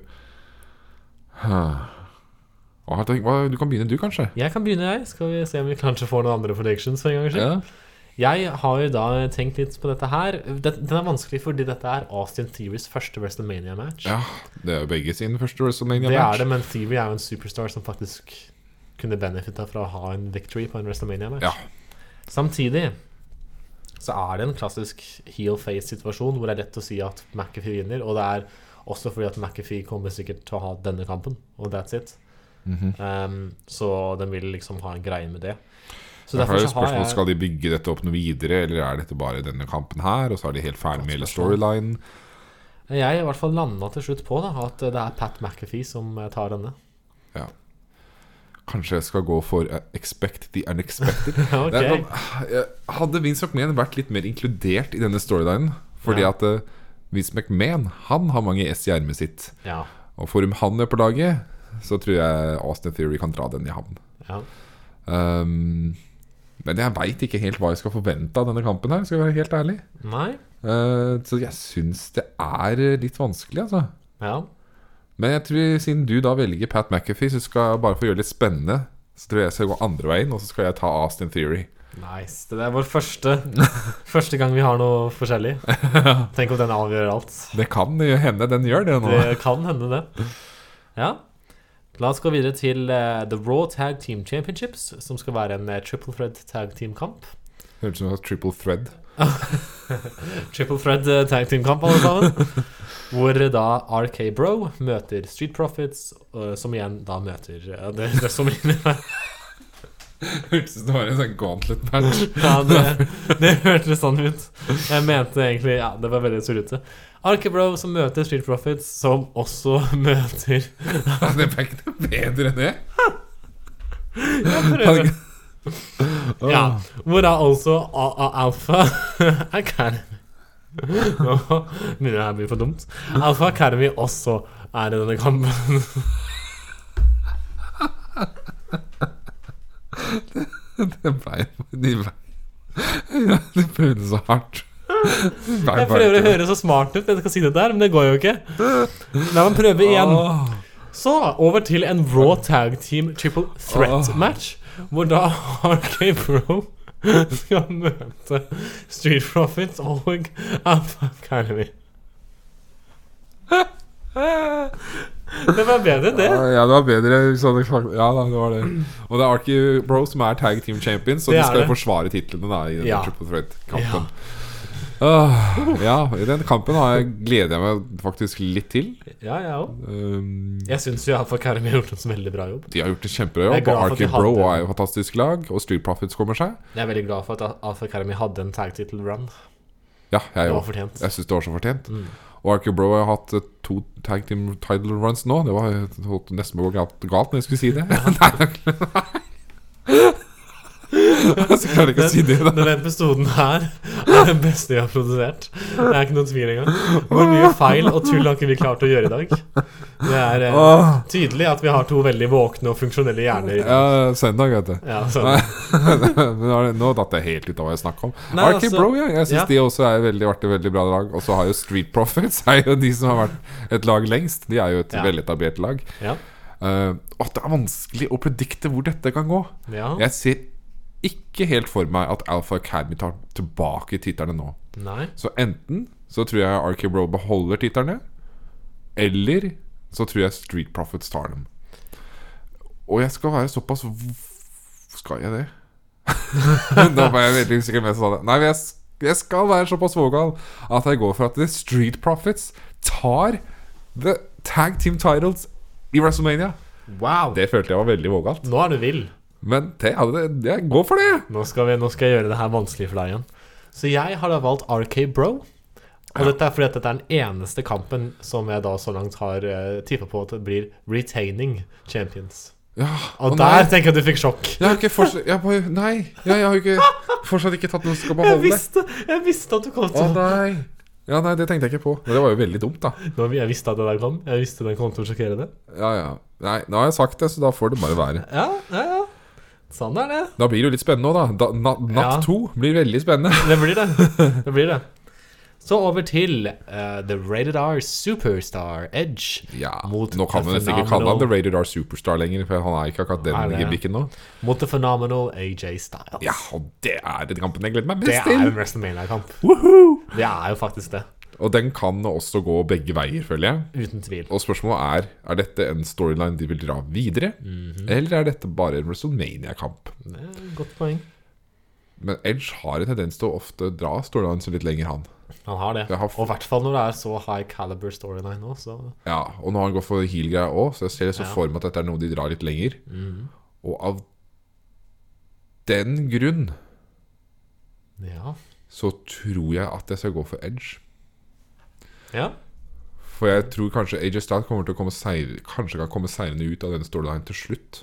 hva, har jeg tenkt- hva- Du kan begynne, du, kanskje? Jeg kan begynne, jeg. Skal vi se om vi kanskje får noen andre predictions for en gangs skyld. Jeg har jo da tenkt litt på dette her. Den, den er vanskelig fordi dette er Austin Theories første WrestleMania-match. Ja, Det er jo begge sin første det er WrestleMania-match. det, men Theory er jo en superstar som faktisk kunne benefitta fra å ha en victory på en WrestleMania-match. Ja. Samtidig så er det en klassisk heel face-situasjon hvor det er lett å si at McAfee vinner. Og det er også fordi at McAfee kommer sikkert til å ha denne kampen, og that's it. Mhm. um, så den vil liksom ha en greie med det. Så derfor Derfor er jo så har spørsmålet, jeg Skal de bygge dette opp noe videre, eller er dette bare denne kampen her? Og så er de helt ferdig med hele storylinen. Jeg i hvert fall landa til slutt på da at det er Pat McAfee som eh, tar denne. Kanskje jeg skal gå for eh, Expect the Unexpected. ok, Det er sånn, eh, hadde Vince McMahon vært litt mer inkludert i denne storylinen Fordi Ja. at eh, Vince McMahon Han har mange S i ermet sitt. ja, Og får han med på laget, så tror jeg Austin Theory kan dra den i havn. ja. Ehm, men jeg veit ikke helt hva jeg skal forvente av denne kampen her, skal jeg være helt ærlig. Nei. Eh, så jeg syns det er litt vanskelig, altså. Ja. Men jeg tror siden du da velger Pat McAfee, så skal jeg bare få gjøre det litt spennende. Så tror jeg jeg skal gå andre veien, og så skal jeg ta Austin Theory. Nice. Det er vår første Første gang vi har noe forskjellig. Tenk om den avgjør alt. Det kan jo hende den gjør det nå. Det kan hende, det. Ja. La oss gå videre til eh, The Raw Tag Team Championships, som skal være en eh, triple thread tag team-kamp. Høres ut som en sånn triple thread. Triple thread eh, tag team-kamp, alle sammen. Hvor eh, da RK Bro møter Street Profits, eh, som igjen da møter eh, det, det som Høres ut som det var en sånn gauntlet match. Ja, det, det hørtes sånn ut. Jeg mente egentlig Ja, det var veldig surrete. Arkebro som møter Street Profits, som også møter Det var ikke noe bedre enn det. Ja, hvor da altså AA Alpha Academy Nå begynner det her å bli for dumt. Alpha Academy også er i denne kampen. Det ble De ble ja, De prøvde så hardt. De ble Jeg bare prøver å ikke- høre så smart ut, jeg skal si det der, men det går jo ikke. La meg prøve igjen. Åh, Så over til en Raw Tag Team Triple Threat Match, hvor da RK Pro skal møte Street Profits og Alpha Academy. Det var bedre, det. Ja, det var bedre. hvis jeg hadde- Ja, da, det var det. Og det er Archie Bro som er tag team champions, så Det de er skal jo det. forsvare titlene da, i den Ja. Triple Threat-kampen. Åh, ja, i den kampen har jeg, gleder jeg meg faktisk litt til. Ja, jeg òg. Um, Jeg syns jo Alpha Academy har gjort en så veldig bra jobb. de har gjort det Jeg er kjempejobb, glad og for at de Archie Bro hadde- er jo et fantastisk lag, og Street Profits kommer seg. Jeg er veldig glad for at Alpha Academy hadde en tag title run. Ja, jeg Det òg. var fortjent. Jeg syns det var så fortjent. Mm. Og Archie Bro har hatt eh, to tag team title runs nå. Det var det holdt nesten på å gå galt, galt når jeg skulle si det. nei, nei, nei. Så klarer jeg ikke å si det. Da. Denne episoden her er den beste vi har produsert. Det er ikke noen tvil engang. Hvor mye feil og tull har ikke vi klart å gjøre i dag? Det er eh, Åh, tydelig at vi har to veldig våkne og funksjonelle hjerner. i dag. ja, søndag, vet du. Ja, sånn. så, Nei. Men nå er det- nå datt jeg helt ut av hva jeg snakka om. Nei, Archie altså- Bro, ja. Jeg syns ja. de også er veldig, vært et veldig bra lag. Og så har jo Street Profits er jo de som har vært et lag lengst. De er jo et Ja. veletablert lag. ja. Eh, og det er vanskelig å predikte hvor dette kan gå. ja. Jeg ser ikke helt for meg at Alpha Academy tar tilbake titterne nå. Nei. Så enten så tror jeg RK Bro beholder titterne, eller så tror jeg Street Profits tar dem. Og jeg skal være såpass v- Skal jeg det? da var jeg veldig usikker mens jeg sa det. Nei, men jeg, s- jeg skal være såpass vågal at jeg går for at The Street Profits tar The Tag Team Titles i WrestleMania. Wow. Det følte jeg var veldig vågalt. Nå er du vill. Men det hadde Jeg går for det! Nå skal, vi, nå skal jeg gjøre det her vanskelig for deg igjen. Så jeg har da valgt RK Bro. Og dette er fordi at dette er den eneste kampen som jeg da så langt har uh, tippa på at det blir retaining champions. Ja, Og å der nei. tenker jeg at du fikk sjokk. Jeg har ikke fortsatt jeg bare, Nei, jeg, jeg har jo ikke fortsatt ikke tatt noe som skal Jeg beholde. visste, jeg visste at du kom Å til nei. Ja, nei, det tenkte jeg ikke på. Men det var jo veldig dumt, da. Nå, Jeg visste at det der kom. Jeg visste den kom til å sjokkere det. Ja, ja. Nei, nå har jeg sagt det, så da får det bare være. Ja, ja, ja. Sånn er det. Da blir det jo litt spennende òg, da. da. na- Ja. Natt to blir veldig spennende. Det blir det. det, blir det. Så over til eh, The Rated R Superstar Edge Ja, Mot Nå kan The vi nesten ikke kalle han Phenomenal. The Rated R Superstar lenger, for han er ikke akkurat Nei, den det er- gimmicken nå. mot The Phenomenal AJ Styles. Ja, og det er den kampen jeg gleder meg Det mest er en til. WrestleMania-kamp. Woohoo! Det er jo faktisk det. Og den kan også gå begge veier, føler jeg. Uten tvil. Og spørsmålet er Er dette en storyline de vil Mhm. dra videre, eller er dette bare en WrestleMania-kamp? Det er et Godt poeng. Men Edge har en tendens til å ofte dra storylinesen litt lenger, han. Han har det. Jeg har f- Og i hvert fall når det er så high caliber storyline nå, så Ja, Og når han går for heal-greia òg, så jeg ser Ja. liksom Mhm. for meg at dette er noe de drar litt lenger. Og av den grunn Ja. så tror jeg at jeg skal gå for Edge. ja. For jeg tror kanskje AJ Stout kommer til å komme seier, kanskje kan komme seirende ut av den storylinen til slutt.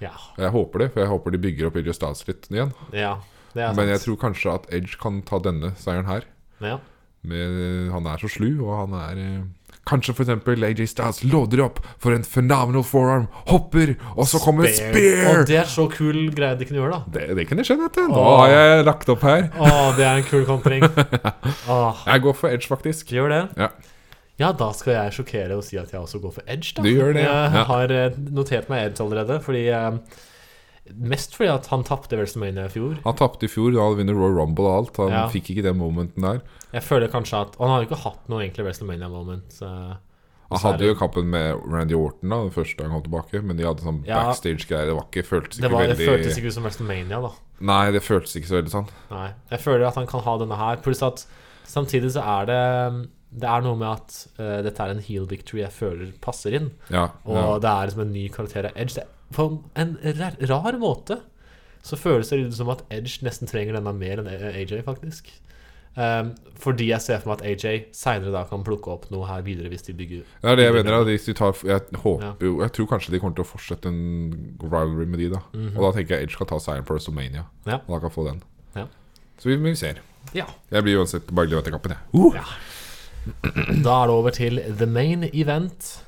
Ja. Og Jeg håper det, for jeg håper de bygger opp AJ Stouts litt igjen. ja. Det er sant. Men jeg tror kanskje at Edge kan ta denne seieren her. ja. Med, han er så slu, og han er eh, Kanskje for eksempel AJ Stouts låder opp for en phenomenal forearm, hopper, og så kommer et Og spear! det er så kul greie de kunne gjøre, da. Det, det kunne skjedd, vet du. Nå Åh. har jeg lagt opp her. Å, det er en kul kontring. Åh, Jeg går for Edge, faktisk. gjør det. Ja. Ja, da skal jeg sjokkere og si at jeg også går for Edge, da. Du gjør det, ja. Jeg Ja. har eh, notert meg Edge allerede, fordi eh, Mest fordi at han tapte WrestleMania i fjor. Han tapte i fjor da han vinner Royal Rumble og alt. Han Ja. fikk ikke den momenten der. Jeg føler kanskje at og Han har jo ikke hatt noe egentlig WrestleMania-moment. så- Han Så er hadde jo kampen med Randy Orton da den første gang han kom tilbake, men de hadde sånn Ja. backstage-greier. Det var ikke, føltes Det, ikke var, det veldig føltes ikke ut som WrestleMania, da. Nei, det føltes ikke så veldig sånn. Nei. Jeg føler at han kan ha denne her. Pluss at samtidig så er det Det er noe med at eh, dette er en heel victory jeg føler passer inn. Ja, Og ja. det er liksom en ny karakter av Edge. Det, på en rar, rar måte så føles det litt som at Edge nesten trenger denne mer enn A- AJ, faktisk. Ehm, fordi jeg ser for meg at AJ seinere da kan plukke opp noe her videre hvis de bygger Det er det jeg mener. da. Hvis de tar, jeg Ja. håper jo Jeg tror kanskje de kommer til å fortsette en rivalry med de, da. Og da tenker jeg Edge skal ta seieren på WrestleMania. Mhm. Ja. Og da kan få den. Ja. Så vi, vi ser. Ja. Jeg blir uansett bare glad til kampen, jeg. Uh! Ja. Da er det over til the main event.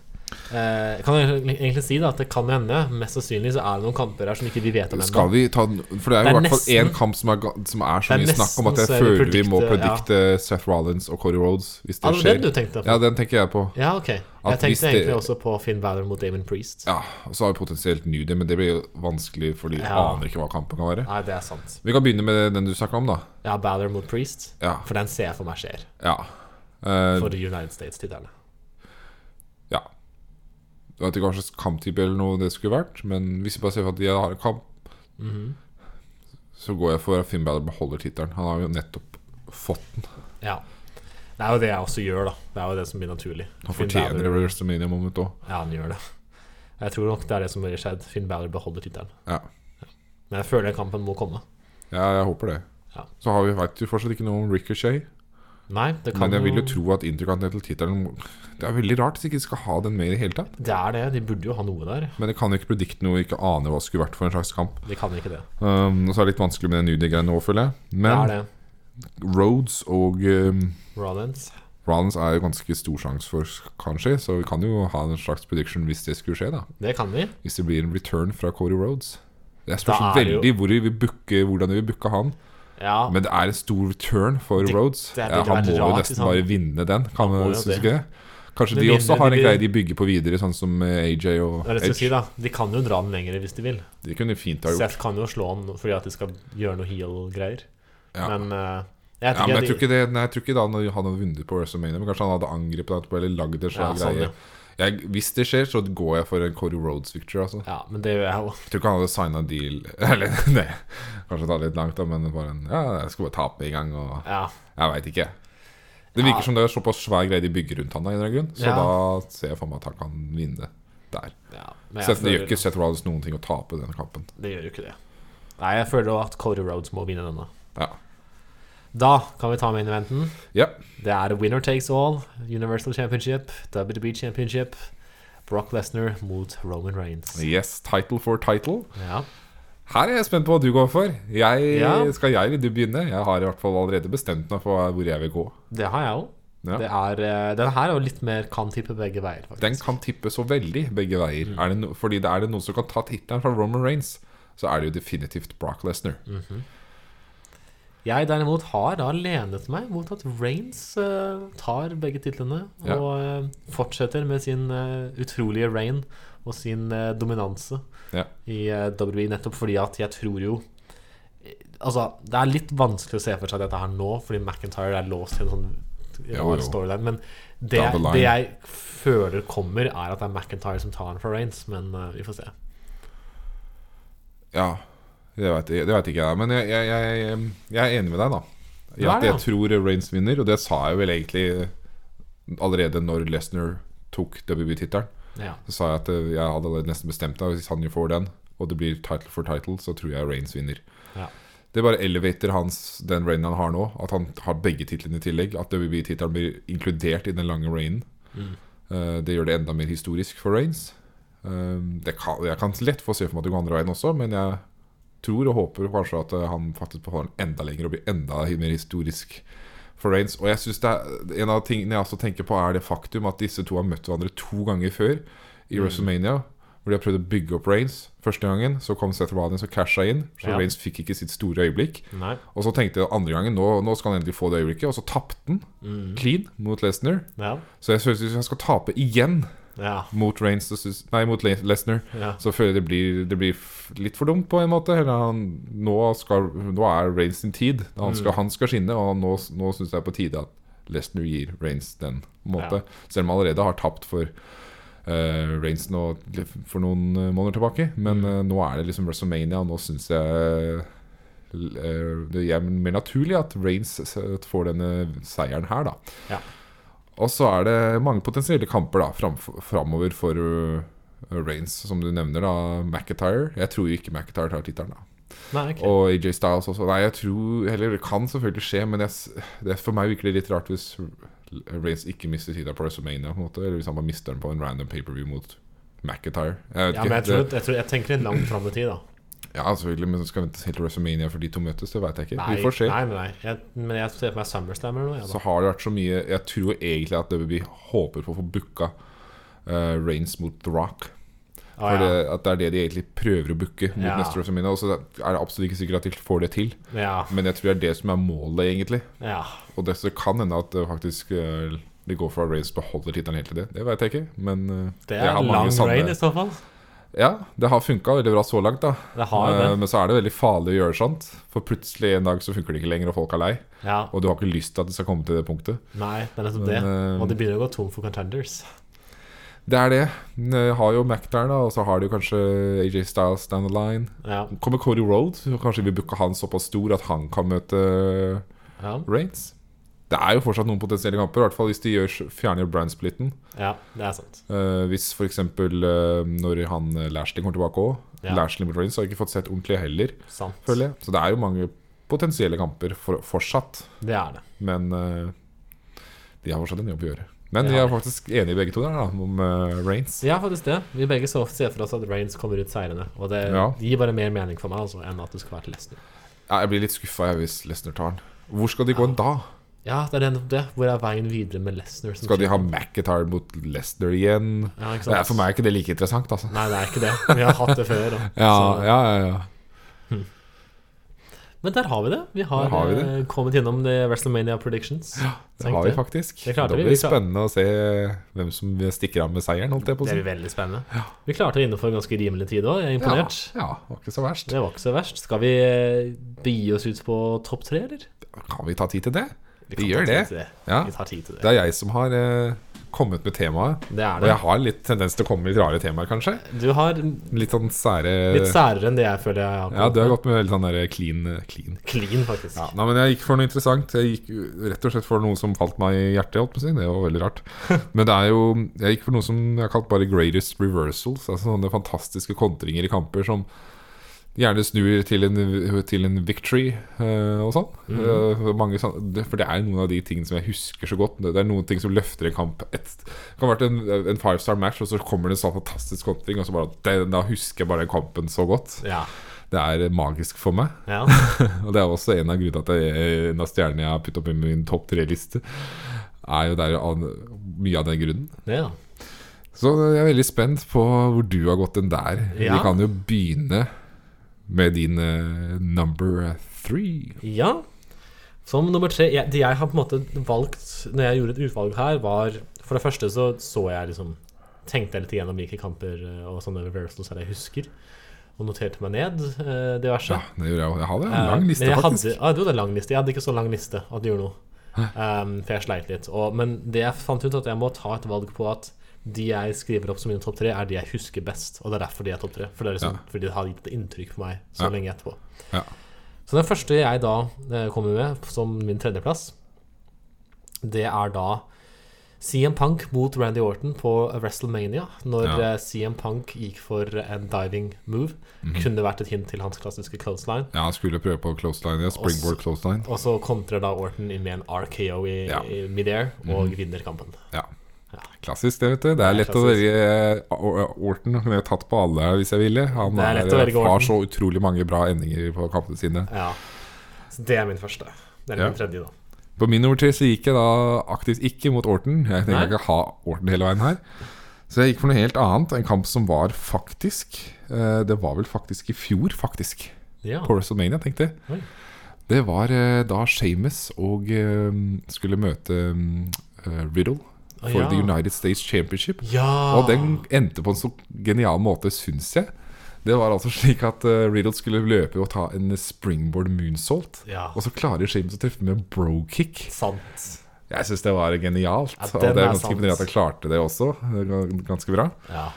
Eh, kan jeg egentlig- egentlig si da at det kan hende. Mest sannsynlig så er det noen kamper her som ikke vi vet om Skal ennå. vi ta den For det er jo Det i er hvert fall nesten- én kamp som er, ga- som er så Det er mye snakk om at jeg nesten så jeg vil føler vi må predikte, ja. predikte Seth Rollins og Cody Rhodes hvis det Er det den skjer. du tenkte på? Ja, den tenker jeg på. Ja, ok. Jeg At hvis tenkte det- egentlig også på Finn Balor mot Damon Priest. Ja, Og så har vi potensielt New Day, men det blir jo vanskelig, for de Ja. aner ikke hva kampen kan være. Nei, det er sant. Vi kan begynne med den du snakka om, da. Ja, Balor mot Priest. Ja. For den ser jeg for meg skjer. ja. Eh, For de United States-titterne. Ja. Jeg vet ikke hva slags kamptype eller noe det skulle vært, men hvis vi bare ser for at de har en kamp, Mhm. så går jeg for at Finn Balor beholder tittelen. Han har jo nettopp fått den. Ja. Det er jo det jeg også gjør, da. Det er jo det som blir naturlig. Han Finn fortjener Balor- det WrestleMania moment òg. Ja, han gjør det. Jeg tror nok det er det som ville skjedd. Finn Balor beholder tittelen. Ja. Men jeg føler kampen må komme. ja, jeg håper det. Ja. Så har vi vet jo fortsatt ikke noe om Ricochet, Nei, det kan men jeg vil jo tro at Intercontinental-tittelen Det er veldig rart hvis ikke de skal ha den med i det hele tatt. Det er det. De burde jo ha noe der. Men jeg kan jo ikke predikte noe, ikke ane hva det skulle vært for en slags kamp. De kan ikke det. Um, og så er det litt vanskelig med den New Day-greia nå, føler jeg. Det er Men det. Rhodes og um, Rollins. Rollins er jo ganske stor sjanse for kanskje, så vi kan jo ha en slags prediction hvis det skulle skje, da. Det kan vi. Hvis det blir en return fra Cody Rhodes. Jeg spørs Da er det jo- veldig hvor vi vil booke, hvordan vi vil booke han, Ja. men det er en stor return for Det- Rhodes. det er- ja, det han er må jo rart, nesten liksom. bare vinne den, kan må man jo synes det. ikke det? Kanskje Men de også vinner har de en vil- greie de bygger på videre, sånn som eh, AJ og det er det jeg skal Edge. si, da. De kan jo dra den lenger hvis de vil. De kunne fint ha gjort Seth kan jo slå han fordi at de skal gjøre noe heal-greier. Ja. Men eh, jeg ja, vet men ikke. jeg tror ikke, det, nei, jeg tror ikke da han han hadde vunnet på WrestleMania, men kanskje han hadde angrepet han på eller lagd Ja, en slags sånn, greie. ja. Jeg, hvis det skjer, så går jeg for en Cody Rhodes-victory, altså. ja, men det gjør jeg jo. Jeg tror ikke han hadde signa deal Eller det kanskje ta litt langt, da, men bare en Ja, jeg skal bare tape en gang, og Ja. Jeg veit ikke. Det virker som det er såpass svær greie de bygger rundt han, da, i en eller annen grunn. Så Ja. da ser jeg for meg at han kan vinne der. ja. Men jeg Seth, det føler- gjør ikke Seth Rollins noen ting å tape den kampen. Det gjør jo ikke det. Nei, jeg føler jo at Cody Rhodes må vinne denne. Ja. Da kan vi ta main eventen. ja. Det er winner takes all. Universal Championship, WWE Championship. Brock Lesnar mot Roman Reigns. Yes, title for title. Ja. Her er jeg spent på hva du går for. Jeg, Ja. Skal jeg eller du begynne? Jeg har i hvert fall allerede bestemt meg for hvor jeg vil gå. Det har jeg òg. Ja. Det er, eh, den her er jo litt mer kan tippe begge veier, faktisk. Den kan tippe så veldig begge veier. Er det no, fordi det er det noen som kan ta tittelen fra Roman Reigns, så er det jo definitivt Brock Lesnar. Jeg derimot har da lenet meg mot at Reigns eh, tar begge titlene Ja. og eh, fortsetter med sin eh, utrolige reign og sin eh, dominanse Ja. i eh, WWE, nettopp fordi at jeg tror jo Altså, det er litt vanskelig å se for seg dette her nå, fordi McIntyre er låst til en sånn Jo, rar jo. storyline, men det, Double line. det jeg føler kommer, er at det er McIntyre som tar den fra Reigns, men eh, vi får se. Ja. Det veit jeg, det vet ikke jeg, men jeg, jeg, jeg, jeg er enig med deg, da. I Du er at det, jeg tror Reigns vinner, og det sa jeg vel egentlig allerede når Lesnar tok WB-tittelen. Ja. Så sa jeg at eh, jeg hadde allerede nesten bestemt meg hvis han jo får den, og det blir title for title, så tror jeg Reigns vinner. Ja. Det bare elevater hans, den reinen han har nå, at han har begge titlene i tillegg. At WB-tittelen blir inkludert i den lange reinen. Mm. Eh, det gjør det enda mer historisk for Reigns. Um, det kan, jeg kan lett få se for meg at det går andre veien også, men jeg tror og håper kanskje at eh, han faktisk beholder den enda lenger og blir enda mer historisk for Reigns. Og jeg synes det er, En av tingene jeg også tenker på, er det faktum at disse to har møtt hverandre to ganger før i WrestleMania. Hvor de har prøvd å bygge opp Reigns første gangen. Så kom Seth Rollins og casha inn. Så Ja. Reigns fikk ikke sitt store øyeblikk. Nei. Og så tenkte jeg andre gangen nå, nå skal han endelig få det øyeblikket. Og så tapte han Mm. clean mot Lesnar. Ja. Så jeg synes hvis han skal tape igjen Ja. mot, Reigns, så synes- nei, mot Le- Lesnar, ja. så føler jeg det blir, det blir f- litt for dumt på en måte. Eller han, nå, skal, nå er Reigns sin tid. Han skal, han skal skinne, og nå, nå syns jeg det er på tide at Lesnar gir Reigns den. på en måte Selv om han allerede har tapt for eh, Reigns nå, for noen eh, måneder tilbake. Men eh, nå er det liksom WrestleMania, og nå syns jeg eh, det er mer naturlig at Reigns eh, s- får denne seieren her, da. Ja. Og så er det mange potensielle kamper da framf- framover for eh, Reigns, som du nevner, da. McIntyre. Jeg tror jo ikke McIntyre tar tittelen, da. Nei, ok. Og AJ Styles også. Nei, jeg tror Eller det kan selvfølgelig skje, men jeg, s- det for meg virker det litt rart hvis Reigns ikke mister tittelen på WrestleMania, på en måte. Eller hvis han bare mister den på en random paperview mot McIntyre. Jeg vet Ja, ikke. men jeg, tror, det, jeg, tror, jeg tenker litt langt fram i tid, da. ja, selvfølgelig, men så skal vi vente helt til WrestleMania for de to møtes, det veit jeg ikke. Nei, Vi får se. nei, nei, nei. Jeg, men jeg ser for meg SummerSlam eller noe. Ja, Så da. har det vært så mye Jeg tror egentlig at WWE håper på å få booka uh, Reigns mot The Rock. Å, Ah, For ja. det, at det er det de egentlig prøver å booke mot Ja. neste WrestleMania. Og så er det absolutt ikke sikkert at de får det til, ja, men jeg tror det er det som er målet, egentlig. ja. Og det så kan hende at det faktisk eh, de går for at Reigns beholder tittelen helt til det. Det veit jeg ikke, men eh, Det jeg er har mange lang sanne- rain i så fall. Ja, det har funka veldig bra så langt, da. Det har jo Eh, det. Men så er det veldig farlig å gjøre sånt. For plutselig en dag så funker det ikke lenger, og folk er lei. Ja. Og du har ikke lyst til at det skal komme til det punktet. Nei, det er nettopp Men, det. eh, Og de begynner å gå tom for contenders. Det er det. Eh, Har jo Mac der, da, og så har du kanskje AJ Styles down the line. Ja. Kommer Cody Rhodes, og kanskje vi booker han såpass stor at han kan møte eh, Ja. Reigns. Det er jo fortsatt noen potensielle kamper, i hvert fall hvis de gjør, fjerner brandsplitten. ja, det er sant. Uh, hvis f.eks. Uh, når han eh, Lashley kommer tilbake òg Ja. Lashley mot Reigns har jeg ikke fått sett ordentlig heller, Sant. føler jeg. Så det er jo mange potensielle kamper for, fortsatt. Det er det. Men eh, de har fortsatt en jobb å gjøre. Men Det de har er faktisk enige begge to der, da, om eh, Reigns. Ja, faktisk det. Vi begge så ser for oss at Reigns kommer ut seirende. Og det Ja. gir bare mer mening for meg altså, enn at du skal være til Lesnar. Ja, jeg blir litt skuffa hvis Lesnar tar den. Hvor skal de gå en da? Ja, det er nettopp det. Hvor er veien videre med Lesnar? som Skal de kjemper? ha McIntyre mot Lesnar igjen? ja, ikke sant? Nei, for meg er ikke det like interessant, altså. Nei, det er ikke det. Vi har hatt det før. Da. Ja, Så- ja, ja, ja. Men der har vi det. Vi har, Der har vi det. eh, kommet gjennom det WrestleMania predictions. Det har vi faktisk. Det Det, klarte vi. blir det Vi klarte- spennende å se hvem som stikker av med seieren, holdt jeg på å Det si. blir veldig spennende. Vi klarte det innenfor ganske rimelig tid òg. Jeg er Ja, imponert. ja, var ikke så verst. Det var ikke så verst. Skal vi eh, begi oss ut på topp tre, eller? Kan vi ta tid til det? Vi Vi kan ta gjør tid det. til det. Ja. Vi tar tid til det. Det er jeg som har eh, kommet med temaet. Det er Og det. jeg har litt tendens til å komme med litt rare temaer, kanskje. Du har Litt sånn sære litt særere enn det jeg føler jeg har. Ja, du har gått med litt sånn der clean, clean Clean, faktisk. Ja, nei, men Jeg gikk for noe interessant. Jeg gikk jo rett og slett for noe som falt meg i hjertet. Holdt på å si. Det var veldig rart. Men det er jo, jeg gikk for noe som jeg har kalt bare 'greatest reversals'. Altså Sånne fantastiske kontringer i kamper som gjerne snur til en, til en victory eh, og sånn. Eh, mange sånn- det- for det er noen av de tingene som jeg husker så godt. Det det er noen ting som løfter en kamp. Et, det kan ha vært en, en five star match, og så kommer det en sånn fantastisk kontring, og så bare den, Da husker jeg bare den kampen så godt. Ja. Det er magisk for meg. ja. Og det er også en av grunnene til at jeg, en av stjernene jeg har puttet opp i min topp tre-liste, er jo der av, mye av den grunnen. Det, da. Så jeg er veldig spent på hvor du har gått den der. Vi Ja. kan jo begynne med din eh, number three. Ja. Som nummer tre jeg, Det jeg har på en måte valgt når jeg gjorde et utvalg her, var For det første så så jeg liksom Tenkte jeg litt igjennom hvilke kamper eh, og sånne reversals her jeg husker, og noterte meg ned eh, diverse. Ja, det gjorde jeg òg. Jeg hadde en Eh, lang liste, men jeg faktisk. Hadde, ja, det var en lang liste. Jeg hadde ikke så lang liste Ehm, at det gjorde noe. Um, for jeg sleit litt. Og, men det jeg fant ut, at jeg må ta et valg på at de jeg skriver opp som mine topp tre, er de jeg husker best. Og det er derfor de er topp tre. For det er liksom, Fordi det har gitt et inntrykk på meg så Ja. lenge etterpå. Ja. Så den første jeg da eh, kommer med som min tredjeplass, det er da CM Punk mot Randy Orton på WrestleMania. Når Ja. eh, CM Punk gikk for en diving move. Mhm. Kunne vært et hint til hans klassiske clothesline. Ja, han skulle prøve på clothesline. Ja. Springboard clothesline. Og så kontrer da Orton inn med en RKO i, Ja. Mhm. i midair og vinner kampen. Ja. Klassisk, det, vet du. Det er lett å klassisk. velge eh, Or- Orton. kunne jeg tatt på alle hvis jeg ville. Han Det er er eh, lett å velge Orton. har så utrolig mange bra endinger på kampene sine. Ja. Så det er min første. Det er Ja. min tredje, da. På min nummer tre så gikk jeg da aktivt ikke mot Orton. Jeg Nei. tenkte ikke ha Orton hele veien her. Så jeg gikk for noe helt annet. En kamp som var faktisk eh, Det var vel faktisk i fjor, faktisk. Ja. På WrestleMania, tenkte jeg. Oi. Det var eh, da Shames og eh, skulle møte eh, Riddle Å, for ja. The United States Championship. ja. Og den endte på en så genial måte, syns jeg. Det var altså slik at eh, Riddle skulle løpe og ta en springboard moonsault. Ja. Og så klarer Shames å treffe med en bro-kick. Sant. Jeg syns det var genialt. Ja, den og det er er ganske sant. imponerende at han klarte det også. Det var Ganske bra. Ja.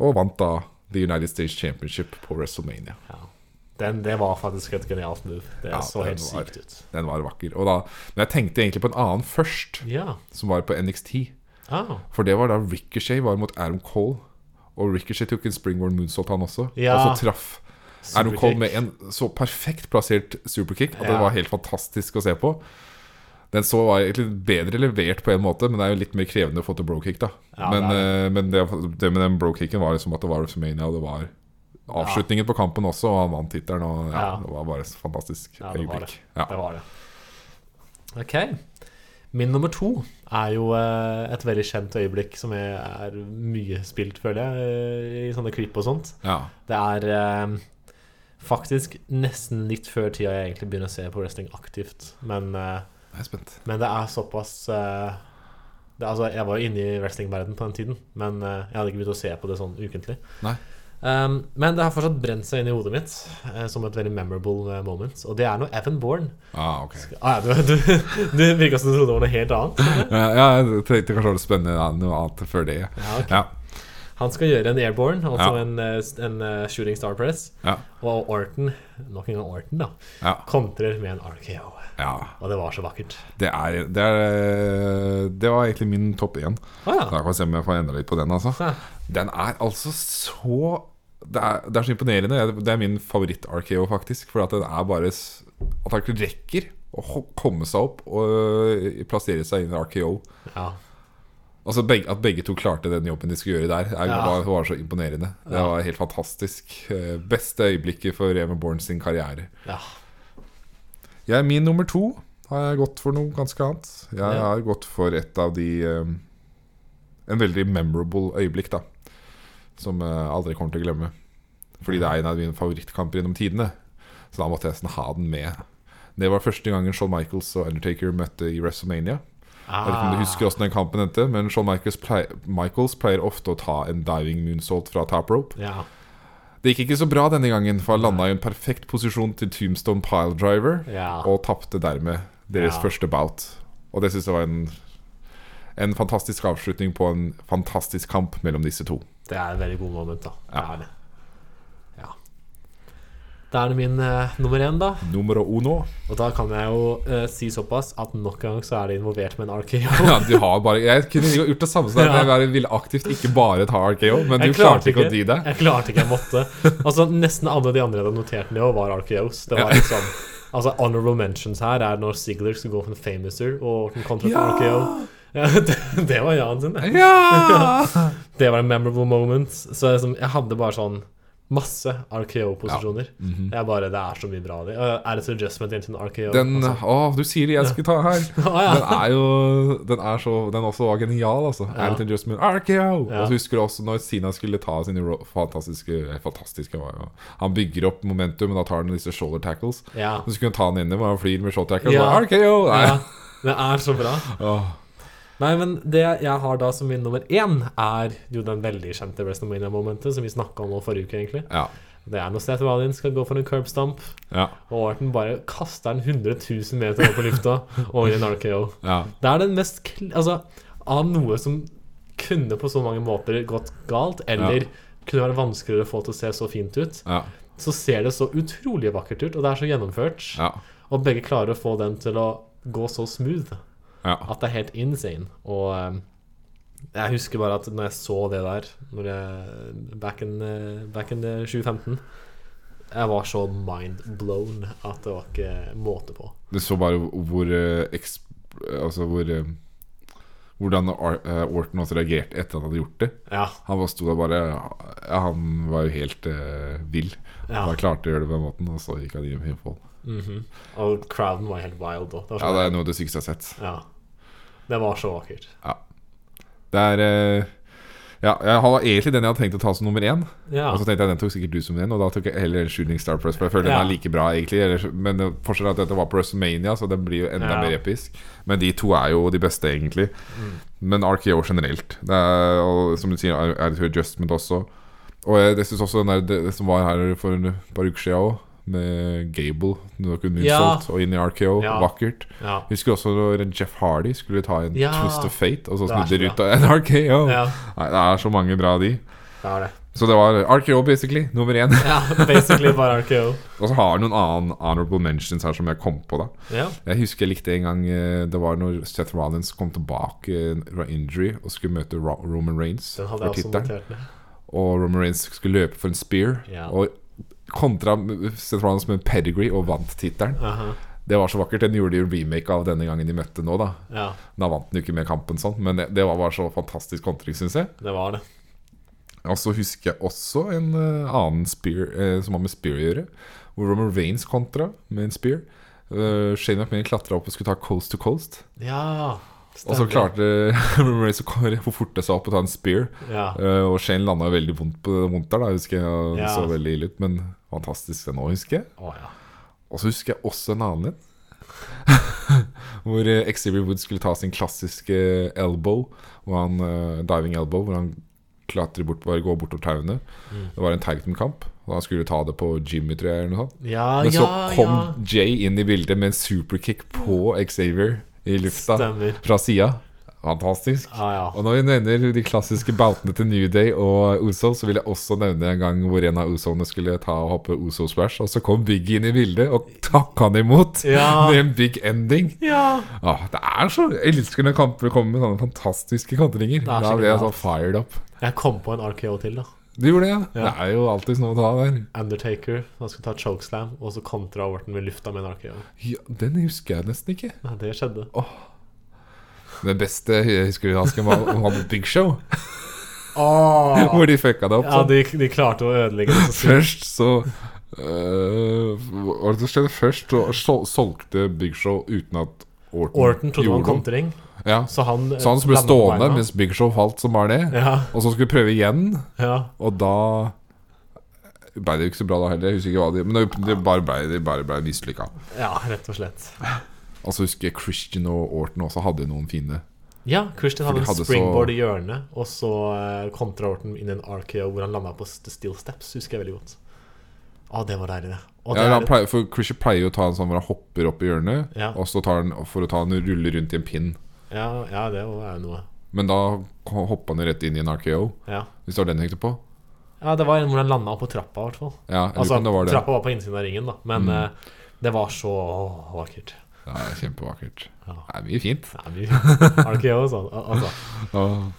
Og vant da The United States Championship på WrestleMania. ja. Den, det var faktisk et genialt move. Det Ja, så den helt var- sykt ut. Den var vakker. Og da, men jeg tenkte egentlig på en annen først, Ja. som var på NXT. Ah. For det var da Ricochet var mot Adam Cole. Og Ricochet tok en springboard moonsault, han også. Ja. Og så traff Adam Superkick. Cole med en så perfekt plassert superkick at det Ja. var helt fantastisk å se på. Den så var egentlig bedre levert på en måte, men det er jo litt mer krevende å få til brokick. da Ja, Men, det eh, men det, det med den brokicken var liksom at det var WrestleMania, og det var avslutningen på kampen også, og han vant tittelen, og ja, Ja. det var bare et fantastisk Ja, det var det. øyeblikk. Ja. Det var det. Ok. Min nummer to er jo eh, et veldig kjent øyeblikk som jeg er mye spilt, føler jeg, eh, i sånne klipp og sånt. Ja. Det er eh, faktisk nesten litt før tida jeg egentlig begynner å se på wrestling aktivt. Men, eh, Jeg er spent. men det er såpass eh, det, er- Altså, jeg var jo inne i wrestlingverden på den tiden, men eh, jeg hadde ikke begynt å se på det sånn ukentlig. Nei. Um, men det har fortsatt brent seg inn i hodet mitt eh, som et veldig memorable eh, moment. Og det er når Evan Bourne Ah, ok. ah, ja, Du, du, du virka som du trodde det var noe helt annet. Ja, ja, jeg tenkte kanskje det var spennende ja, noe annet før det. Ja. Ja, ok. Ja, Han skal gjøre en airborne, altså Ja. en, eh, s- en eh, shooting star press. ja, Og Orton, nok en gang Orton, da, ja, kontrer med en RKO. ja. Og det var så vakkert. Det, er, det, er, det var egentlig min topp én. Å Da kan vi se om jeg får endre litt på den. Altså. Ja. Den er altså så det er, det er så imponerende. Jeg- Det er min favoritt-RKO, faktisk. For at den er bare s- At han ikke rekker å ho- komme seg opp og øh, plassere seg inn i RKO. Ja. Altså begge, At begge to klarte den jobben de skulle gjøre der, er, Ja. var, var så imponerende. Det var helt fantastisk. Eh, Beste øyeblikket for Even Born sin karriere. ja. Jeg, min nummer to har jeg gått for noe ganske annet. Jeg Ja. har gått for et av de eh, En veldig memorable øyeblikk, da. Som jeg aldri kommer til å glemme. Fordi det er en av mine favorittkamper gjennom tidene. Så da måtte jeg nesten ha den med. Det var første gangen Shawn Michaels og Undertaker møtte i WrestleMania. Jeg vet ikke om Ah. du husker hvordan den kampen endte, men Shawn Michaels pleier, Michaels pleier ofte å ta en diving moonsault fra top rope. Ja. Det gikk ikke så bra denne gangen, for han landa i en perfekt posisjon til Tombstone Piledriver, Ja. og tapte dermed deres Ja. første bout. Og det syns jeg var en, en fantastisk avslutning på en fantastisk kamp mellom disse to. Det er en veldig god moment, da. Det Ja. er det. Ja. Da er det min eh, nummer én, da. Numero uno. Og da kan jeg jo eh, si såpass at nok en gang så er det involvert med en RKO. Ja, du har bare Jeg kunne gjort det samme som deg, Ja. men jeg ville aktivt ikke bare ta RKO, men du Jeg klarte ikke å dy deg. Jeg klarte ikke, jeg måtte. Altså, Nesten alle de andre jeg hadde notert ned, var RKOs. Det var Ja. liksom Altså, Honorable mentions her er når Ziggler skal gå for en famouser og Orton kontra ja. Ja. RKO. Ja, det, det var Jan sin, det. Ja! Det var en memorable moment. Så liksom, jeg hadde bare sånn masse RKO-posisjoner. mhm. Jeg bare, Det er så mye bra av de. Og Er det så adjustment inn til en RKO? Den Altså, Å, du sier det jeg skulle ta her. Å, Ah, ja. Den er jo Den er så Den også var genial, altså. Anthony Justman, RKO! Ja. Og så husker du også når Sina skulle ta sine ro- fantastiske eh, Fantastiske var jo Han bygger opp momentum, men da tar han disse shoulder tackles. Ja. Så skulle han ta den inne, hvor han flyr med shoulder tackles. Ja. Ja. RKO! oh, Nei. ja, det er så bra. Åh. Nei, men det jeg har da som min nummer én, er jo den veldig kjente WrestleMania-momentet som vi snakka om nå forrige uke, egentlig. Ja. Det er når Seth Rollins skal gå for en curb stump, Ja. og Orton bare kaster den 100 000 meter opp i lufta og i en RKO. ja. Det er den mest kl Altså, av noe som kunne på så mange måter gått galt, eller Ja. kunne være vanskeligere å få til å se så fint ut, Ja. så ser det så utrolig vakkert ut, og det er så gjennomført. Ja. Og begge klarer å få den til å gå så smooth ja. at det er helt insane. Og eh, jeg husker bare at når jeg så det der når jeg, back, in, eh, back in eh, 2015 Jeg var så mind blown at det var ikke måte på. Du så bare hvor eh, eks- Altså hvor eh, Hvordan Ar eh, Orton også reagerte etter at han hadde gjort det. Ja. Han bare sto der bare ja, Han var jo helt eh, vill. Ja. Han bare klarte å gjøre det på den måten, og så gikk han hjem på den. mhm. Og crowden var helt wild òg. Ja, det er noe du sikkert har sett. Ja. Det var så vakkert. Det er eh, Ja, jeg var egentlig den jeg hadde tenkt å ta som nummer én. Ja. Og så tenkte jeg den tok sikkert du som den, og da tok jeg heller Shooting Star Press. For jeg føler Ja. den er like bra, egentlig. Eller, men det- forskjellen er at dette var på WrestleMania, så den blir jo enda Ja. Mm. mer episk. Men de to er jo de beste, egentlig. Men RKO generelt. Det er, og som du sier, er er et adjustment også. Og jeg, jeg synes også den der, det, det som var her for en par uker siden òg, med Gable noe moonsault, og inn i RKO. Ja. Vakkert. ja. Husker også når Jeff Hardy skulle ta en Ja. twist of fate, og så Det er så snudde bra. de ut av en RKO. Ja, Nei, det er så mange bra av de. det er det. Så det var RKO, basically. Nummer én. Ja, basically bare RKO. Og så har jeg noen annen honorable mentions her som jeg kom på, da. Ja. Jeg husker jeg likte en gang eh, det var når Seth Rollins kom tilbake eh, fra injury og skulle møte Ro Roman Reigns Den hadde for jeg også tittelen. notert ned. Og Roman Reigns skulle løpe for en spear. Ja. Og kontra Seth Rollins med en pedigree og vant tittelen. Aha. Det var så vakkert. Den gjorde de en remake av denne gangen de møtte nå, da. Ja, Da vant den jo ikke med kampen sånn, men det, det var bare så fantastisk kontring, syns jeg. det var det. Og så husker jeg også en eh, annen spear eh, som har med spear å gjøre. Hvor Roman Reigns kontra med en spear. Eh, Shane McMahon klatra opp og skulle ta coast to coast. Ja. Og så klarte Roman Reigns å komme- få forte seg opp og ta en spear. Ja. Eh, og Shane landa jo veldig vondt, på, vondt der, da, husker jeg. Og det Ja. så veldig ille ut, men fantastisk det nå, husker jeg. Å, ja. Og så husker jeg også en annen en. hvor eh, Xavier Woods skulle ta sin klassiske eh, elbow, hvor han, eh, diving elbow, hvor han klatrer bort, bare går bortover tauene. Mm. Det var en tag team-kamp, og han skulle ta det på Jimmy, tror jeg. eller noe sånt. Ja, Ah, Men ja, så kom ja. Jay inn i bildet med en superkick på Xavier i lufta Stemmer. fra sida. Fantastisk. Ja, ja. Og når vi nevner de klassiske boutene til New Day og Uso, så vil jeg også nevne en gang hvor en av Usoene skulle ta og hoppe Uso Splash, og så kom Biggie inn i bildet og takka han imot Ja. med en big ending. ja. Ah, det er så Jeg elsker når kamper kommer med sånne fantastiske kontringer. er så Da blir jeg genialt. sånn fired up. Jeg kom på en RKO til, da. Du gjorde det, ja? Det er jo alltid noe å ta der. Undertaker. Han skulle ta chokeslam, og så kontra Orton med lufta med en RKO. Ja, den husker jeg nesten ikke. Ja, det skjedde. Den beste jeg husker vi Asken, var han hadde Big Show, hvor de fucka det opp. Ja, sånn. de, de klarte å ødelegge det så sykt. Først så øh, Hva var det som skjedde først? Så sol solgte Big Show uten at Orton, Orton trodde det var en gjorde noe. kontring, Ja. så han eh, Så han ble landet på stående beina. mens Big Show falt som bare det. Ja, Og så skulle vi prøve igjen, ja. og da ble det jo ikke så bra da heller. Jeg husker ikke hva de Men det- det bare ble, det bare ble mislykka. ja, rett og slett. Og så husker jeg Christian og Orton også hadde noen fine Ja, Christian hadde de en hadde så- springboard i hjørnet, og så eh, kontra Orton inn i en RKO hvor han landa på st- steel steps, husker jeg veldig godt. Å, det var deilig, det. Og det ja, er han et- pleier, For Christian pleier jo å ta en sånn hvor han hopper opp i hjørnet, Ja. og så tar han for å ta en rulle rundt i en pin. Ja, ja, det er jo noe. Men da hoppa han jo rett inn i en RKO, Ja. hvis det var den jeg tenkte på. ja, det var en hvor han landa på trappa, i hvert fall. Ja, jeg lurer på Altså, om det Mm. var det. trappa var på innsiden av ringen, da, men eh, det var så åh, vakkert. Ja, det er kjempevakkert. Ja. Det er mye fint. Nei, vi har ikke gjort sånn. al- Altså.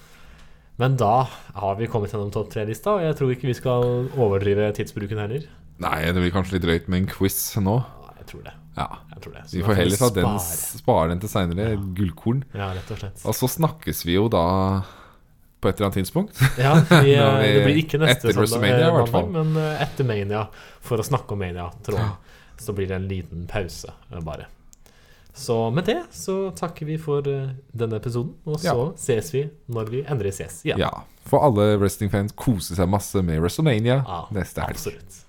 Men da har vi kommet gjennom topp tre-lista, og jeg tror ikke vi skal overdrive tidsbruken heller. Nei, det blir kanskje litt drøyt med en quiz nå. Nei, Jeg tror det. Ja. Jeg tror det. Så Vi da får heller ta den, spare. spare den til seinere. Gullkorn. Ja, rett og slett. Og så snakkes vi jo da på et eller annet tidspunkt. Ja, vi, eh, Når vi- det blir ikke neste etter eh, WrestleMania, i hvert fall. mandag, men eh, etter Mania, for å snakke om Mania-tråden, så blir det en liten pause, eh, bare. Så med det så takker vi for eh, denne episoden, og så Ja. ses vi når vi endelig ses igjen. Ja. For alle wrestlingfans koser seg masse med WrestleMania Ja, neste helg. absolutt.